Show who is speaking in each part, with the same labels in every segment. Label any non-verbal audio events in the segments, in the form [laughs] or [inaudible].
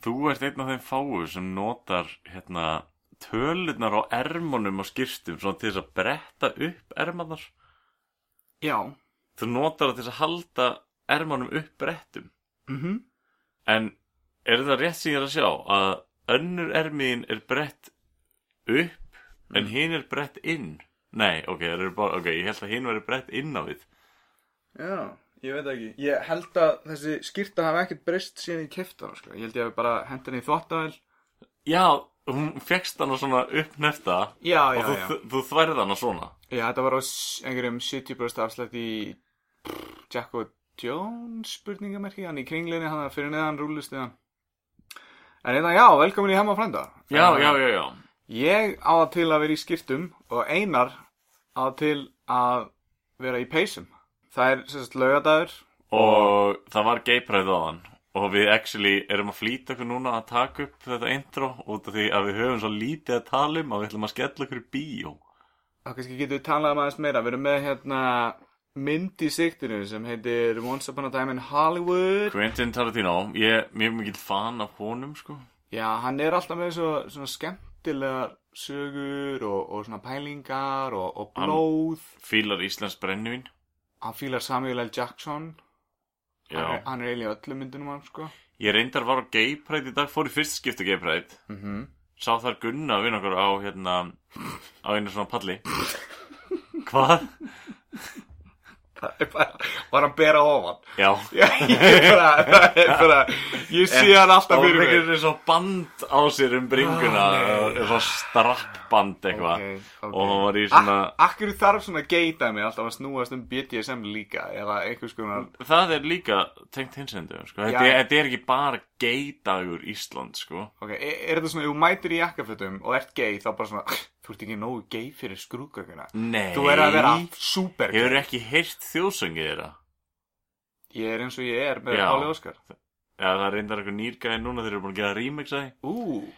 Speaker 1: Þú ert einn af þeim fáu sem notar hérna tölurnar á ermunum á skýrstum svona til þess að bretta upp ermannar.
Speaker 2: Já.
Speaker 1: Þú notar það til þess að halda ermanum upp brettum.
Speaker 2: Mm
Speaker 1: En er það rétt sem ég er að sjá að önnur ermiðin er brett upp en hinn er brett inn? Nei, ok, það eru bara, ok, ég held að hinn verið brett inn á við.
Speaker 2: Já, ég veit það ekki. Ég held að þessi skýrta hafi ekkert breyst síðan ég kefti hana, sko. Ég held ég hafi bara hent henni í þvottavel.
Speaker 1: Já, hún fegst hana svona uppnefta
Speaker 2: Já, já,
Speaker 1: og þú,
Speaker 2: já.
Speaker 1: þú, þú þværið hana svona.
Speaker 2: Já, þetta var á s- einhverjum 70% afslætt í pff, Jack og Jones spurningamerki, hann í kringlinni, hann fyrir neðan rúlustiðan. En hérna, já, velkomin í Hemma Frænda. Eh,
Speaker 1: Já, já, já, já.
Speaker 2: Ég á það til að vera í skýrtum og Einar á það til að vera í peysum. Það er sérst laugadagur.
Speaker 1: og það var geipræð á hann og við actually erum að flýta okkur núna að taka upp þetta intro út af því að við höfum svo lítið að tala um að við ætlum að skella okkur í bíó
Speaker 2: Þá kannski getum við talað um aðeins meira. Við erum með hérna mynd í siktinu sem heitir Once Upon a Time in Hollywood.
Speaker 1: Quentin Tarantino, ég ég er mikill fan af honum sko
Speaker 2: Já, hann er alltaf með svo, svona skemmtilegar sögur og, og svona pælingar og, og
Speaker 1: Hann-
Speaker 2: blóð.
Speaker 1: fílar Íslands brennivín
Speaker 2: Hann fílar Samuel L. Jackson. Hann er,
Speaker 1: Já.
Speaker 2: hann er eiginlega í öllum myndunum hann, sko.
Speaker 1: ég reyndar var á geipræð í dag fór í fyrst skipti geipræð
Speaker 2: Mm -hmm.
Speaker 1: sá þar Gunna við okkur á hérna á einu svona palli hvað?
Speaker 2: Var hann bera ofan?
Speaker 1: Já
Speaker 2: Já, ég bara, það er bara, ég sé hann alltaf fyrir
Speaker 1: Það
Speaker 2: mig.
Speaker 1: er svo band á sér um bringuna Svo strappband eitthvað
Speaker 2: ok.
Speaker 1: Og það var í svona
Speaker 2: Akkur þarf svona geita mig alltaf að snúast um BDSM líka, eða einhvers konar,
Speaker 1: Það er líka tengt hinsendu sko. þetta,
Speaker 2: Ah! Já.
Speaker 1: er- þetta er ekki bara geidagur Ísland sko.
Speaker 2: ok, er, er þetta svona, ef þú mætir í jakkafötum og ert gei, þá bara svona, þú ert ekki nógu gei fyrir skrúkökuna.
Speaker 1: Nei
Speaker 2: Þú er að vera super
Speaker 1: Hefur ekki heyrt þjóðsöngið þeirra
Speaker 2: Ég er eins og ég er með
Speaker 1: Já.
Speaker 2: Páli Óskar.
Speaker 1: Já, það er reyndar eitthvað nýrgæði núna þeir eru búin að gera remix að því
Speaker 2: Ú,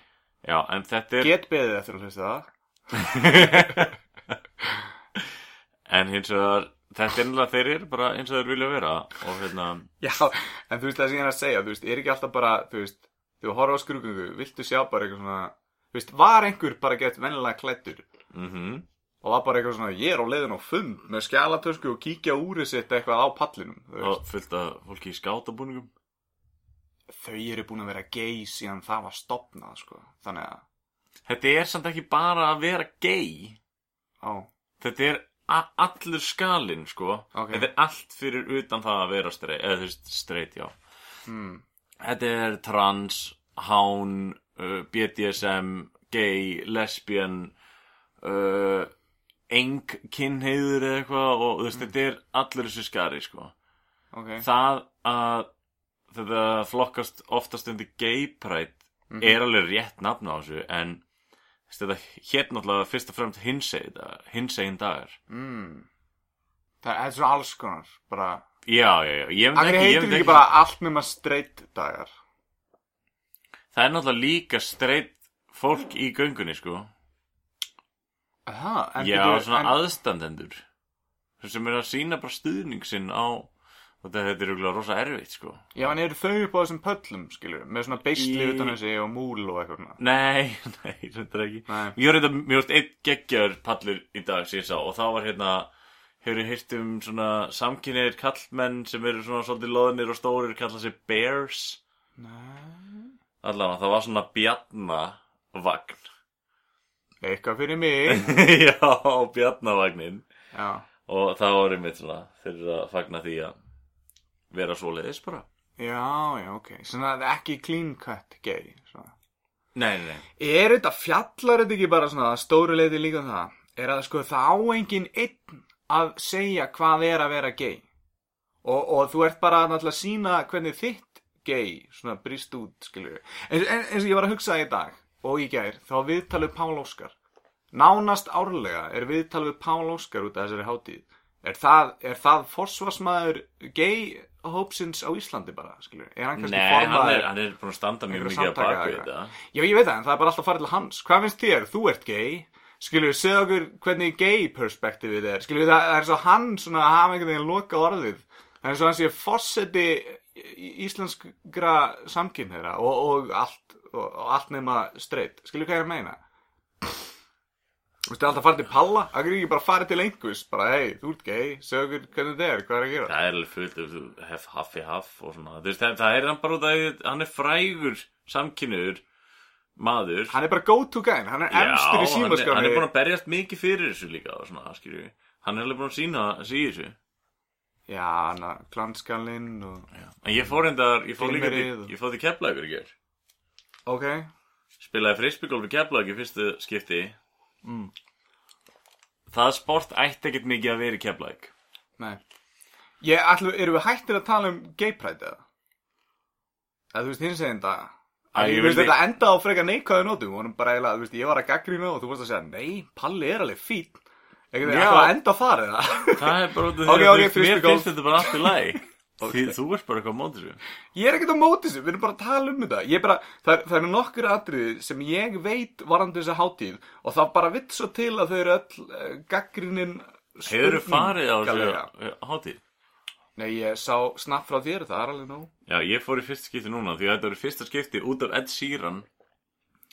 Speaker 1: Já, en þetta er
Speaker 2: get beðið eftir að hlusta það.
Speaker 1: [laughs] En hins vegar Þetta er ennlega þeir eru bara eins og þeir vilja vera Og hérna
Speaker 2: Já, en þú veist það sem ég er að segja, þú veist, er ekki alltaf bara, þú veist, þú horfa á skrúkungu, viltu sjá bara eitthvað svona, þú veist, var einhver bara gett vennilega klættur
Speaker 1: mm
Speaker 2: og var bara eitthvað svona, ég er á leiðin á fund með skjálatösku og kíkja úrið sitt eitthvað á pallinum, þú veist,
Speaker 1: Og fullt af fólki í skátabúningum
Speaker 2: þau eru búin að vera gei síðan það var stopnað, sko, þannig að,
Speaker 1: Þetta er samt ekki bara að vera gay
Speaker 2: á,
Speaker 1: Þetta er a- allur skalinn, sko.
Speaker 2: Ok.
Speaker 1: Þetta er allt fyrir utan það að vera streit, eða þú veist, streit, já.
Speaker 2: hmm,
Speaker 1: Þetta er trans, hán, uh, BDSM, gay, lesbian, uh, eng, kynheiður eða eitthvað og þú veist, þetta er allur þessu skari, sko.
Speaker 2: Mm. ok,
Speaker 1: Það að þetta flokkast oftast undir gay pride
Speaker 2: Mhm.
Speaker 1: er alveg rétt nafn á þessu, en þú veist, þetta hér náttúrulega fyrst og fremst hinsegin dagar. Hinsegin dagar.
Speaker 2: hmm, það það er svona alls konar, bara,
Speaker 1: Já, já, já, ég veit
Speaker 2: akkur
Speaker 1: ekki, ég
Speaker 2: heitir
Speaker 1: veit
Speaker 2: ekki
Speaker 1: ekki
Speaker 2: bara allt nema streitt dagar,
Speaker 1: Það er náttúrulega líka streitt fólk í göngunni, sko
Speaker 2: það, en
Speaker 1: Já,
Speaker 2: bíddu,
Speaker 1: svona
Speaker 2: en-
Speaker 1: aðstandendur sem er að sína bara stuðning sinn á þetta, þetta er auðvitað rosa erfitt, sko
Speaker 2: Já, en eru þau upp á þessum pöllum, skilur, með svona beisli
Speaker 1: Í-
Speaker 2: utan á sig og múl og eitthvað svona?
Speaker 1: Nei, [laughs] nei, þetta er ekki
Speaker 2: Nei.
Speaker 1: Ég var þetta, mér varst einn geggjar pallur í dag sem ég sá og þá var hérna Hefur ég heyrt um svona samkynneir kallmenn sem eru svona svolítið loðnir og stórir kalla sig bears
Speaker 2: Nei.
Speaker 1: Allavega, það var svona bjarnavagn
Speaker 2: Eitthvað fyrir [laughs] mig.
Speaker 1: [laughs] Já, bjarnavagnin
Speaker 2: Já.
Speaker 1: og það var einmitt svona þeir eru að fagna því að vera svoleiðis bara
Speaker 2: Já, já, ok. Svona að ekki clean cut gay, svona.
Speaker 1: nei, nei, nei.
Speaker 2: Er þetta fjallar þetta ekki bara svona að stóru leiti líka um það? Er að sko það á enginn einn að segja hvað er að vera gay? Og, og þú ert bara að náttúrulega sína hvernig þitt gay svona brist út, skilur. Eins, eins og ég var að hugsa í dag og í gær, þá viðtalið Pál Óskar. Nánast árlega er viðtal við Pál Óskar út af þessari hátíð. Er það, er það forsvarsmaður gay hópsins á Íslandi bara, skilur? Er hann kannski
Speaker 1: Nei, hann
Speaker 2: formaður-
Speaker 1: er, hann er búin að standa mjög
Speaker 2: einhverju
Speaker 1: mikið að
Speaker 2: samtaka
Speaker 1: baka
Speaker 2: eða
Speaker 1: þetta
Speaker 2: Já, ég veit það, en það er bara alltaf að fara til hans. Hvað finnst þér? Þú ert gay. Skilju, segð okkur hvernig gay perspektífið er. Skilju, það, það er svo hann svona að hafa einhvern veginn loka orðið. Það er svo hann sé fórseti íslenskra samkynneira og, og allt, og, og allt nema streitt. Skilju, hvað er að meina? Þú veist, það er alltaf að fara til Palla. Það er ekki bara að fara til einhvers. Bara, hei, þú ert gay. Segð okkur hvernig þetta er. Hvað er að gera?
Speaker 1: Það er alveg fullt af þú hef haffi haff og svona Þú veist, það, það er hann bara út af því að hann er frægur samkynur maður
Speaker 2: Hann er bara go-to guy. Hann er emstur í
Speaker 1: hann er,
Speaker 2: símaskáni.
Speaker 1: hann er búin að berjast mikið fyrir þessu líka og svona, skilju Hann er alveg búin að sína sig í þessu
Speaker 2: Já, hann er klanskallinn og...
Speaker 1: En ég fór reyndar, ég fór líka til,
Speaker 2: Glimmerið og-
Speaker 1: ég fór til keflagur í ger
Speaker 2: Ok.
Speaker 1: Spilaði frisbygolf í keflagur í fyrstu skipti Mm. Það sport ætti ekkert mikið að vera í keflagur
Speaker 2: Nei. Ég, allu, erum við hættir að tala um gay pride eða? Eða þú veist, hins eginn dag.
Speaker 1: Æ,
Speaker 2: Ég
Speaker 1: ég
Speaker 2: veist,
Speaker 1: vildi-
Speaker 2: þetta enda á frekar neikvæðu nótu. Hún er bara eiginlega, þú veist, ég var að gaggrina og þú varst að segja, nei, Palli er alveg fín.
Speaker 1: Já.
Speaker 2: Ekki þetta ætla að enda þar eða? [laughs]
Speaker 1: Það er bara út af því
Speaker 2: Ok, ok,
Speaker 1: að þú- mér
Speaker 2: frisbeegolf.
Speaker 1: finnst þetta bara allt í lagi [laughs] Því þú ert bara eitthvað á móti þessu
Speaker 2: ég er ekkert á móti þessu, við erum bara að tala um þetta. Ég er bara, það, er- það eru nokkur atriði sem ég veit varandi þessa hátíð og það bara vitt svo til að þau eru öll uh, gaggrinin
Speaker 1: Hefur þú farið á
Speaker 2: spurningalega.
Speaker 1: þessu eh, hátíð?
Speaker 2: Nei, ég sá snapp frá þér, það er alveg nóg.
Speaker 1: Já, ég fór í fyrsta skipti núna því að þetta var fyrsta skipti út af Ed Sheeran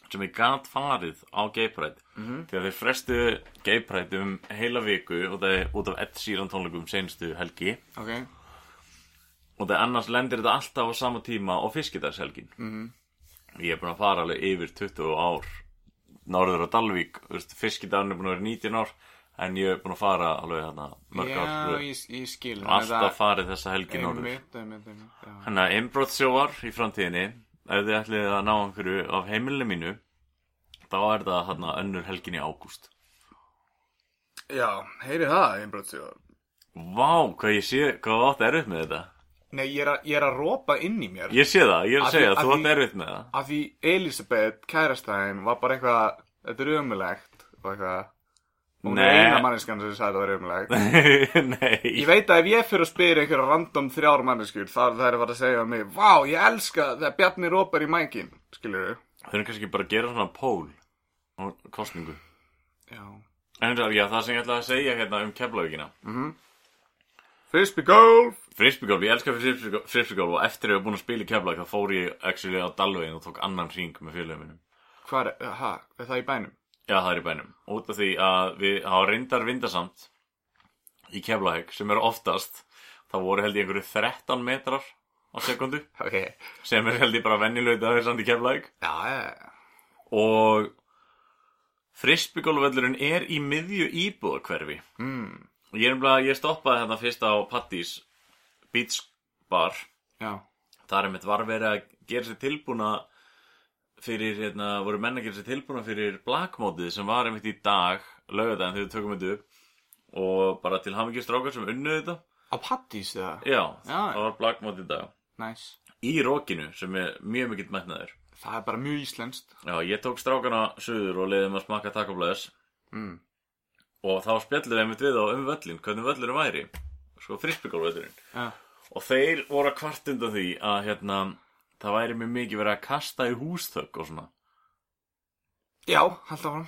Speaker 1: sem ég gat farið á Gay Pride því að þeir frestu Gay Pride um heila viku og það er út af Ed Sheeran tónleikum senstu helgi
Speaker 2: Okay.
Speaker 1: og það annars lendir þetta alltaf á sama tíma og fiskidagshelgin
Speaker 2: Mhm.
Speaker 1: Ég er búin að fara alveg yfir 20 ár norður á Dalvík þú veist, fiskidagurinn er búin að vera 19 ár en ég er búin að fara alveg þarna mörg ár í
Speaker 2: Já,
Speaker 1: röð.
Speaker 2: ég, ég skil
Speaker 1: og alltaf farið þessa helgi norður
Speaker 2: Einmitt, einmitt, einmitt já.
Speaker 1: Þannig að einbrótsjóvar í framtíðinni ef þið ætlið að ná einhverju af heimilinu mínu þá er það hérna önnur helgin í ágúst
Speaker 2: já, heyri það, einbrottsjóður
Speaker 1: Vá, hvað ég sé, hvað þú átt erfitt með þetta
Speaker 2: Nei, ég er, að, ég er að rópa inn í mér
Speaker 1: Ég sé það, ég er
Speaker 2: Af
Speaker 1: að
Speaker 2: því-
Speaker 1: segja
Speaker 2: af
Speaker 1: að þú átt
Speaker 2: því-
Speaker 1: erfitt með það [laughs]
Speaker 2: Af því Elisabeth, kærastæðin, var bara eitthvað Þetta er ömulegt og eitthvað Hún er
Speaker 1: Nei.
Speaker 2: eina manneskan sem sagði þetta var
Speaker 1: [laughs]
Speaker 2: ömulegt Ég
Speaker 1: Nei,
Speaker 2: veit að ef ég fyrir að spyrja einhverja random þrjár manneskjur þar þær var að segja um mig Vá, ég elska þegar Bjarni rópar í mækin Skilur
Speaker 1: þau erum kannski bara að gera svona pól og kostningu
Speaker 2: Já
Speaker 1: En það, já, það sem ég ætlaði að segja hérna um keflavíkina
Speaker 2: Frisbee golf
Speaker 1: Frisbygolf, ég elska frisbygolf og eftir að ég var búin að spila í keflavík þá fór ég actually á Dalvegin og tók annan ring með félögum minnum
Speaker 2: Hvað er, ha, er það í bænum?
Speaker 1: Já, það er í bænum. Út af því að við hafa reyndar vindasamt í Keflavík sem er oftast, þá voru held ég einhverju 13 metrar á sekundu
Speaker 2: Ok Já,
Speaker 1: sem er held ég bara venjulegð að samt í Keflavík
Speaker 2: já, já
Speaker 1: og frisbygólvöllurinn er í miðju íbúðakverfi. Mm. Ég, er nefnilega- ég stoppaði þetta fyrst á Pattís Beach Bar
Speaker 2: Já,
Speaker 1: þar er mitt var verið að gera sér tilbúna fyrir, hérna, voru menn að gera sér tilbúna fyrir blackmótið sem var einmitt í dag, laugardaginn þegar við tökum þetta upp og bara til hamingi strákar sem unnuðu þetta,
Speaker 2: á pattís eða?
Speaker 1: já,
Speaker 2: Já.
Speaker 1: það var blackmótið í dag
Speaker 2: Næs
Speaker 1: í rókinu sem er mjög mikill metnaður
Speaker 2: Það er bara mjög íslenskt.
Speaker 1: já, ég tók strákana suður og leiðum að smakka taco bless
Speaker 2: Mm.
Speaker 1: og þá spjallum við einmitt við á um völlin hvernig völlurinn væri, sko frisbygólvöllurinn
Speaker 2: Já.
Speaker 1: Og þeir voru að kvart undan því að hérna, það væri mjög mikið verið að kasta í húsþögg og svona. [laughs]
Speaker 2: Já, hald áfram.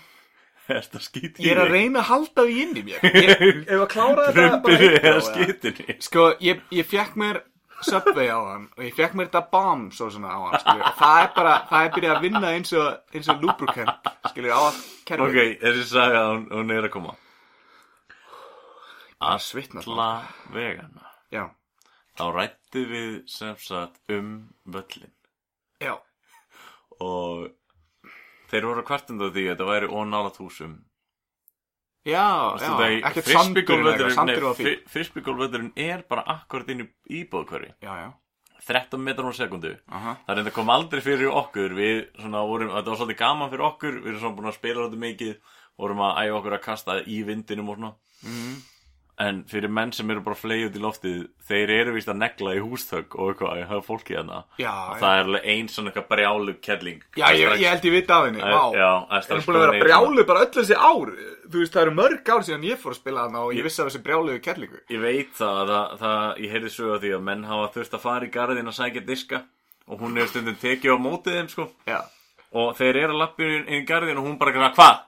Speaker 1: Er þetta skítið?
Speaker 2: Ég er að reyna að halda því inn í [laughs] mér. Ég, ef að klára þetta bara
Speaker 1: Rumpir
Speaker 2: eitt á
Speaker 1: eða
Speaker 2: það.
Speaker 1: skítinni.
Speaker 2: Sko, ég, ég fekk mér Subway á hann og ég fekk mér þetta BAM svo svona á hann, skilju. Það er bara, það er byrjað að vinna eins og, eins og lubricant, skilju, á að kerfi.
Speaker 1: Ok, þessi saga, hún, hún er að koma.
Speaker 2: Að svitna
Speaker 1: Alla
Speaker 2: það.
Speaker 1: vegana.
Speaker 2: Já,
Speaker 1: Þá rættu við sem sagt um völlin.
Speaker 2: já,
Speaker 1: Og þeir voru að kvart undan því að þetta væri ónálat húsum.
Speaker 2: já, já, ekkert sandur eða eitthvað, sandur var fín.
Speaker 1: Fyrstbyggólvöldurinn er bara akkurat inn í íbóðkværi.
Speaker 2: Já, já,
Speaker 1: 13 metrar á sekundu.
Speaker 2: aha,
Speaker 1: Það reynda kom aldrei fyrir okkur Við svona vorum, þetta var svolítið gaman fyrir okkur Við erum svona búin að spila þetta mikið Vorum að æfa okkur að kasta í vindinum og svona
Speaker 2: mhm,
Speaker 1: en fyrir menn sem eru bara fleið út í loftið þeir eru víst að negla í hústögg og eitthvað, það er fólkið hérna
Speaker 2: Já,
Speaker 1: og
Speaker 2: já.
Speaker 1: það er alveg einn svona eitthvað brjálu kelling
Speaker 2: Já, ég, ég held ég vita af henni, vá.
Speaker 1: já, það er hérna.
Speaker 2: Það er
Speaker 1: strax
Speaker 2: búin að vera
Speaker 1: komin í svona-
Speaker 2: brjálu bara öll þessi ár Þú veist, það eru mörg ár síðan ég fór að spila þarna og ég vissi af þessi brjáluðu kerlingu
Speaker 1: Ég veit það, það, það ég heyrði sögu af því að menn hafa þurft að fara í garðin að sækja diska og hún er stundum tekið á mótið þeim sko
Speaker 2: Já,
Speaker 1: og þeir eru að lappa inn í garðin og hún bara gana hvað?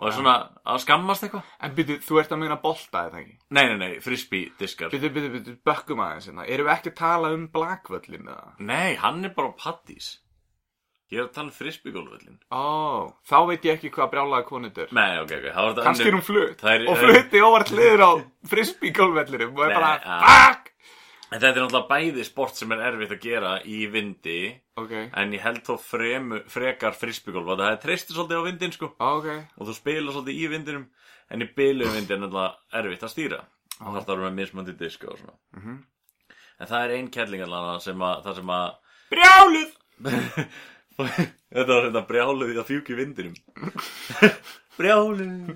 Speaker 1: Og það er svona að skammast eitthvað?
Speaker 2: en byrju, þú ert að meina bolta eða ekki
Speaker 1: Nei, nei, nei, frisbee diskar
Speaker 2: Byrju, byrju, byrju, bökkum aðeins hérna Erum við ekki að tala um blakvöllin með það?
Speaker 1: Nei, hann er bara á pattís Ég er að tala um frisbee gólföllin
Speaker 2: Ó, þá veit ég ekki hvað brjálaða konund er
Speaker 1: Nei, ok, ok, það var þetta
Speaker 2: Kannski er
Speaker 1: önnur-
Speaker 2: hún flutt
Speaker 1: Það er-
Speaker 2: og flutti óvart liður á frisbee-gólvellinum og er
Speaker 1: Nei,
Speaker 2: bara,
Speaker 1: að-
Speaker 2: fuck!
Speaker 1: En þetta er náttúrulega bæði sport sem er erfitt að gera í vindi
Speaker 2: Ok,
Speaker 1: En ég held þó fremu, frekar frisbeegolf að það er treystir svolítið á vindin sko
Speaker 2: ok,
Speaker 1: og þú spila svolítið í vindinum en í bylu vindi er náttúrulega erfitt að stýra og þarf það að vera með mismöndi diska og svona
Speaker 2: Mhm.
Speaker 1: en það er ein kelling allavega sem að það sem að
Speaker 2: brjáluð!
Speaker 1: [laughs] þetta var þetta brjáluð í að fjúki vindinum [laughs] brjáluð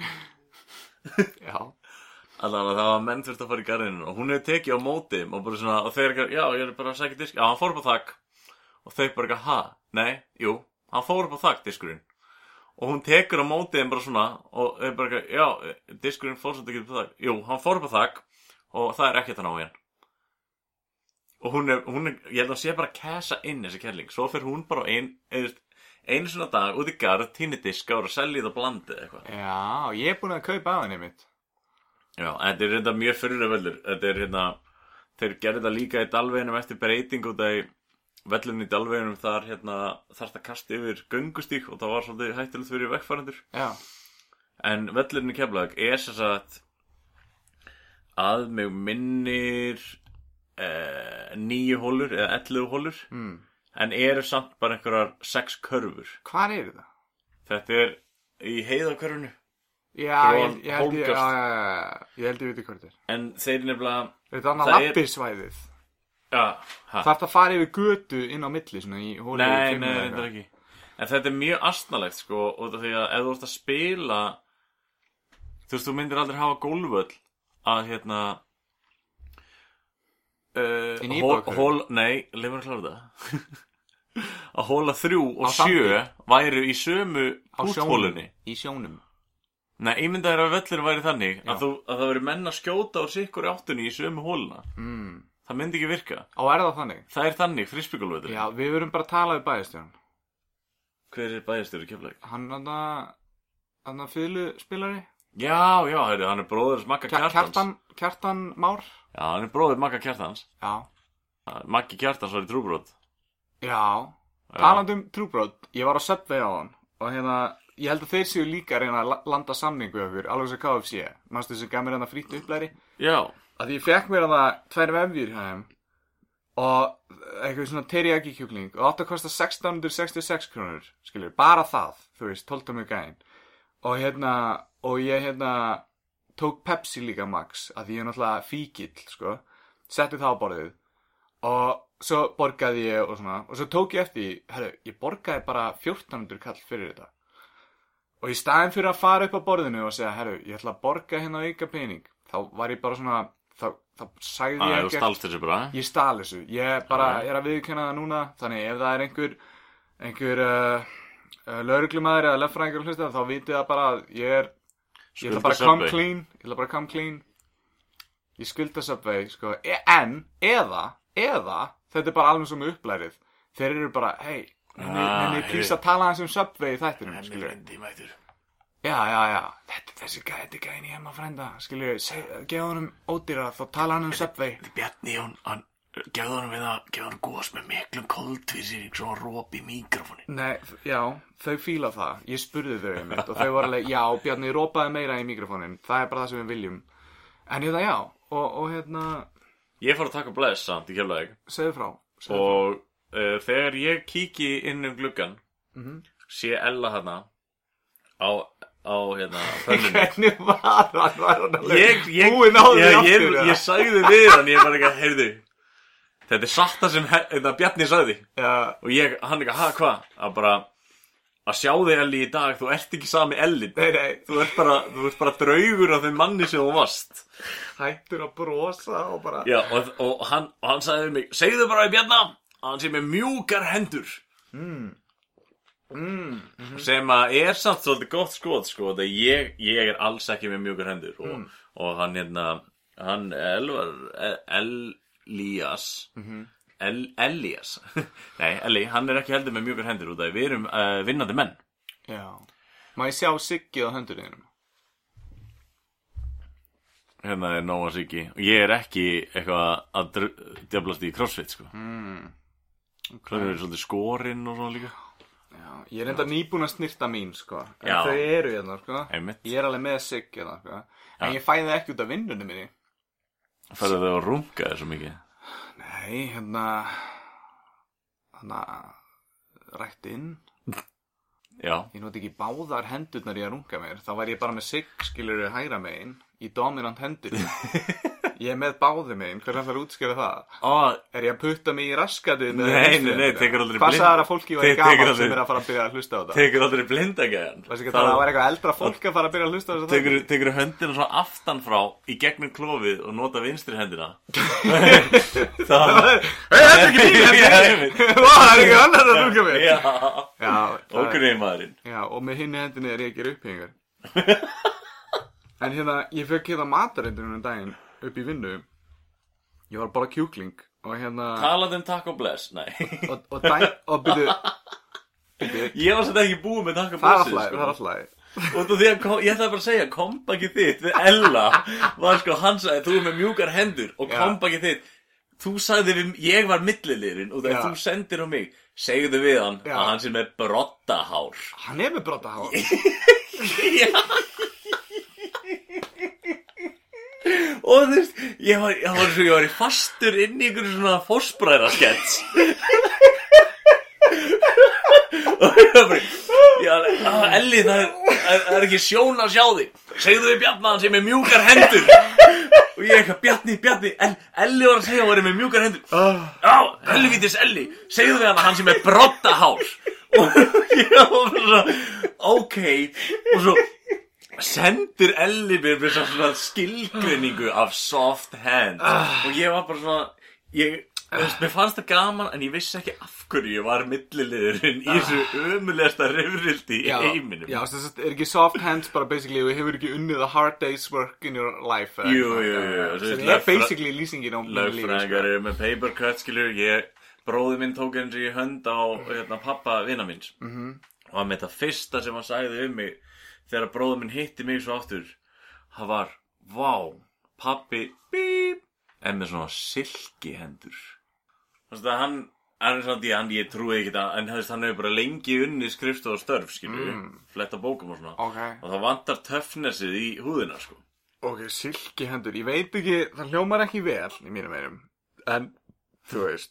Speaker 2: Já,
Speaker 1: allavega það var menn þurft að fara í garðinu og hún hefur tekið á móti og bara svona og þeir eru já ég er bara að segja disk já hann fór upp á þakk og þau bara eitthvað ha nei jú hann fór upp á þakk diskurinn og hún tekur á móti þeim bara svona og þau bara eitthvað já eh, diskurinn fór svolítið ekki upp á þakk jú hann fór upp á þakk og það er ekkert að ná í hann og hún er, hún er ég held að hún sé bara að kæsa inn þessi kærling svo fer hún bara á ein eða einu svona dag út í garð tíni diska og er að selja það blandið eitthvað
Speaker 2: já, ég er búin að kaupa að henni mitt
Speaker 1: Já, en þetta er reynda mjög fyrir vellur Þetta er hérna Þeir gerðu þetta líka í dalveginum eftir breyting og það er vellun í dalveginum þar hérna þarft að kasta yfir göngustík og það var svolítið hættilegt fyrir vekkfærandur
Speaker 2: Já,
Speaker 1: en vellurinn í Keflag er sem sagt að mig minnir eh, níu hólur eða ellu hólur
Speaker 2: mm.
Speaker 1: en eru samt bara einhverjar sex körfur
Speaker 2: hvar eru það?
Speaker 1: þetta er í heiðakörfunu
Speaker 2: Já,
Speaker 1: Fyrir
Speaker 2: ég,
Speaker 1: ofan
Speaker 2: ég, held ég,
Speaker 1: Hólmgöst.
Speaker 2: já, já, já, já, ég held ég viti hvað þetta er.
Speaker 1: en þeir nefnilega
Speaker 2: Er þetta annað
Speaker 1: Það er-
Speaker 2: lappir-svæðið?
Speaker 1: ja, ha.
Speaker 2: Þarf það að fara yfir götu inn á milli, svona í hólu
Speaker 1: Nei, nei, þetta er ekki En þetta er mjög astnalegt sko út af því að ef þú ert að spila þú veist, þú myndir aldrei hafa gólvöll að hérna
Speaker 2: Í
Speaker 1: uh, hól,
Speaker 2: nýbökuðum?
Speaker 1: hól, Nei, leifur að klára það [laughs] að hóla þrjú og
Speaker 2: Á
Speaker 1: sjö væru í sömu pústhólunni
Speaker 2: Í sjónum.
Speaker 1: Nei, ímyndað er að völlur væri þannig
Speaker 2: Já.
Speaker 1: að, þú, að það veri menn að skjóta á sikkur áttunni í sömu hóluna
Speaker 2: Mm.
Speaker 1: Það myndi ekki virka
Speaker 2: Og er það þannig?
Speaker 1: Það er þannig, frisbyggulvöllur
Speaker 2: Já, við verum bara að tala við bæðistjón.
Speaker 1: Hver er bæðistur í keflæk?
Speaker 2: Hann hann að, hann að fylgu spilari?
Speaker 1: Já, já, heyrðu, hann er bróður hans Magga Kjartans
Speaker 2: Kjartan, Kjartan Már?
Speaker 1: Já, hann er bróður Magga Kjartans
Speaker 2: Já.
Speaker 1: Maggi Kjartans var í trúbrot
Speaker 2: Já.
Speaker 1: Já.
Speaker 2: Talandi um trúbrót, ég var á Subway á hann og hérna, ég held að þeir séu líka að reyna að la- landa samningu okkur, alveg sem KFC. Manstu sem gaf mér hann að frýtt upplæri?
Speaker 1: Já,
Speaker 2: að því ég fekk mér að það tvær vefjur hjá þeim og eitthvað svona teriyaki kjúkling og átt að kosta 1666 krónur skilur, bara það, þú veist, 12 mjög gæn og hérna og ég hérna tók Pepsi líka max, að því ég er náttúrulega fíkill sko, setti það á borðið og svo borgaði ég og svona, og svo tók ég eftir því, herru, ég borgaði bara 1400 kall fyrir þetta og í staðin fyrir að fara upp á borðinu og segja, herru, ég ætla að borga hérna auka pening, þá var ég bara svona þá, þá sagði
Speaker 1: það
Speaker 2: ég
Speaker 1: er stálst þessu bara
Speaker 2: ég stal þessu, ég bara
Speaker 1: Já.
Speaker 2: er að viðkjöna það núna, þannig ef það er einhver einhver uh, uh, lauruglumæður eða leffræðingur hlusta þá vitið það bara að ég er ég ætla
Speaker 1: Skulda
Speaker 2: bara að come
Speaker 1: Subway.
Speaker 2: clean ég ætla bara að come clean ég skulda Subway, sko, e- en eða, eða, þetta er bara alveg svo með upplærið, þeir eru bara hei,
Speaker 1: Ah,
Speaker 2: henni ah,
Speaker 1: heyrðu.
Speaker 2: plís að tala hans um Subway í þættinum,
Speaker 1: Hann er
Speaker 2: skilur
Speaker 1: reyndi mættur
Speaker 2: já, já, já, þetta, þessi gæ- þetta er gæðin í heima frænda, skilur, geða honum ódýra, þá
Speaker 1: [laughs]
Speaker 2: tala hann um Subway
Speaker 1: Bjarni Jón, hann gefði honum við að gefði honum góðs með miklum koldvísýring svo hann rópi í mikrofónin
Speaker 2: Nei, f- já, þau fíla það. Ég spurði þau einmitt og þau voru alveg, já, Bjarni, rópaði meira í mikrofónin. Það er bara það sem við viljum. En ég það, já, og, og hérna,
Speaker 1: Ég fór að taka bless samt í keflæk
Speaker 2: segðu frá. Segðu frá.
Speaker 1: og uh, þegar ég kíki inn um gluggan
Speaker 2: Mhm.
Speaker 1: sé Ella hana á, á hérna, [laughs] pönnunni
Speaker 2: Hvernig var hann? Var hann alveg
Speaker 1: ég, ég,
Speaker 2: búinn á því
Speaker 1: ég, ég,
Speaker 2: aftur?
Speaker 1: ég,
Speaker 2: eða?
Speaker 1: sagði við hann ég var ekki að heyrðu þetta er satt það sem he- þetta Bjarni sagði
Speaker 2: Já,
Speaker 1: og ég, hann ekki, ha, hva að bara, að sjá þig Elli í dag, þú ert ekki sami Elli
Speaker 2: Nei, nei,
Speaker 1: þú ert bara, þú ert bara draugur af þeim manni sem þú varst
Speaker 2: hættur að brosa og bara
Speaker 1: Já, og, og, hann, og hann sagði við mig segðu bara við Bjarna að hann sé með mjúkar hendur mm. Mm. sem að er samt svolítið gott skot sko, þegar ég, ég er alls ekki með mjúkar hendur og, og hann hérna hann Elvar Elías El, Elías [laughs] nei, Elí, hann er ekki heldur með mjúkar hendur út af því við erum uh, vinnandi menn
Speaker 2: Já. Má ég sjá Siggi á höndurinnum?
Speaker 1: hérna er Nóa Siggi og ég er ekki eitthvað að dr- djöflast í crossfit sko mm.
Speaker 2: Hmm,
Speaker 1: okay. er svolítið skorinn og svona líka
Speaker 2: Já, ég er enda nýbúin að snirta mín, sko. En
Speaker 1: Já.
Speaker 2: þau eru hérna, sko.
Speaker 1: Einmitt.
Speaker 2: Ég er alveg með Siggi hérna, sko. En ég fæ það ekki út af vinnunni minni.
Speaker 1: Færðu þau að runga þér svo mikið?
Speaker 2: Nei, hérna... Þannig að... Rætt inn.
Speaker 1: Já,
Speaker 2: Ég noti ekki báðar hendurnar í að runga mér. Þá væri ég bara með Sigg, skilur hægra megin, í dominant
Speaker 1: [laughs]
Speaker 2: hendur. ég er með báði megin, hvernig ætlar að útskjöra það?
Speaker 1: Ó,
Speaker 2: Er ég að putta mig í raskatið? með
Speaker 1: Nei,
Speaker 2: vinstri
Speaker 1: nei, nei,
Speaker 2: hendina?
Speaker 1: tekur aldrei
Speaker 2: Hvað
Speaker 1: blind-
Speaker 2: sagðar að fólki
Speaker 1: Te-
Speaker 2: væri
Speaker 1: tekur
Speaker 2: gaman
Speaker 1: aldrei-
Speaker 2: sem er að fara að byrja að hlusta á þetta?
Speaker 1: tekur aldrei blindagæðan
Speaker 2: Varstu ekki að tala að það var eitthvað eldra fólk að fara að byrja að hlusta á þess að
Speaker 1: Tekur, tekur höndina svo aftan frá í gegnum klófið og nota vinstri hendina
Speaker 2: [laughs]
Speaker 1: Það
Speaker 2: Hei,
Speaker 1: [laughs]
Speaker 2: þetta er ekki mín
Speaker 1: Já,
Speaker 2: hendi
Speaker 1: einmitt.
Speaker 2: Vá, það er ekki annar að rúka mig
Speaker 1: Já,
Speaker 2: Já, það er-
Speaker 1: okkur maðurinn
Speaker 2: já, og með hinni hendinni er ég ekki
Speaker 1: [laughs]
Speaker 2: upphengar En hérna, ég fekk hérna matarindunum um daginn upp í vinnu Ég var bara kjúkling og hérna
Speaker 1: Talað um takk og bless, nei [laughs]
Speaker 2: Og, og dæn, og byrju Byrju,
Speaker 1: Ég var svolítið ekki búið með sko. takk og
Speaker 2: það er
Speaker 1: blessi
Speaker 2: alltaf, það er alltaf
Speaker 1: Og þú því að kom, ég ætlaði bara að segja kompakið þitt við Ella var sko hann sagði þú er með mjúkar hendur og
Speaker 2: Já.
Speaker 1: kompakið þitt þú sagði við, ég var millilirinn og
Speaker 2: Já.
Speaker 1: þegar þú sendir á mig segðu við hann
Speaker 2: Já.
Speaker 1: að hann sé með brottahár
Speaker 2: Hann er með brotta hár
Speaker 1: Já Og þú veist, ég var, ég var, svo, ég var í fastur inn í einhverju svona fósbræðraskets Og ég var bara ég var alveg, "Ah, Elli, það er, það er- það er ekki sjón að sjá þig Segðu við Bjarnaðan sem er mjúkar hendur Og ég eitthvað, Bjarni, Bjarni, El, Elli var að segja að hann er með mjúkar hendur Já, helvítis Elli Segðu við hann að hann sem er brottahár Og ég var bara svona, ok Og svo sendir Elli mér með svona skilgreiningu af soft hand Og ég var bara svona, ég, þú veist, mér fannst það gaman En ég vissi ekki af hverju ég var milliliðurinn Í þessu ömulegasta reyfrildi í
Speaker 2: Ah. Já,
Speaker 1: heiminum
Speaker 2: já þess að er ekki soft hands bara basically og hefur ekki unnið a hard day's work in your life eða
Speaker 1: Jú, jú,
Speaker 2: eitthvað.
Speaker 1: jú, jú, þú
Speaker 2: sem
Speaker 1: veist,
Speaker 2: er
Speaker 1: lögfræ-
Speaker 2: basically lýsingin á mínu lífi, sko.
Speaker 1: Lögfræðingar eru með paper cut, skilur ég, bróði minn tók eins og ég hönd á hérna, pappa vina minns -hmm. og hann með þetta fyrsta sem hann sagði um mig þegar bróði minn hitti mig svo aftur það var, vá, pappi bíp, en með svona silki hendur þannig að hann hann er samt í hann, ég trúi ekki það en þú veist, hann hefur bara lengi unni skrifst og störf skilur, mm. fletta bókum og svona
Speaker 2: Ok.
Speaker 1: og það vantar töfnesið í húðina sko.
Speaker 2: Ok, silki hendur, ég veit ekki, það hljómar ekki vel í mínum einum, en þú veist,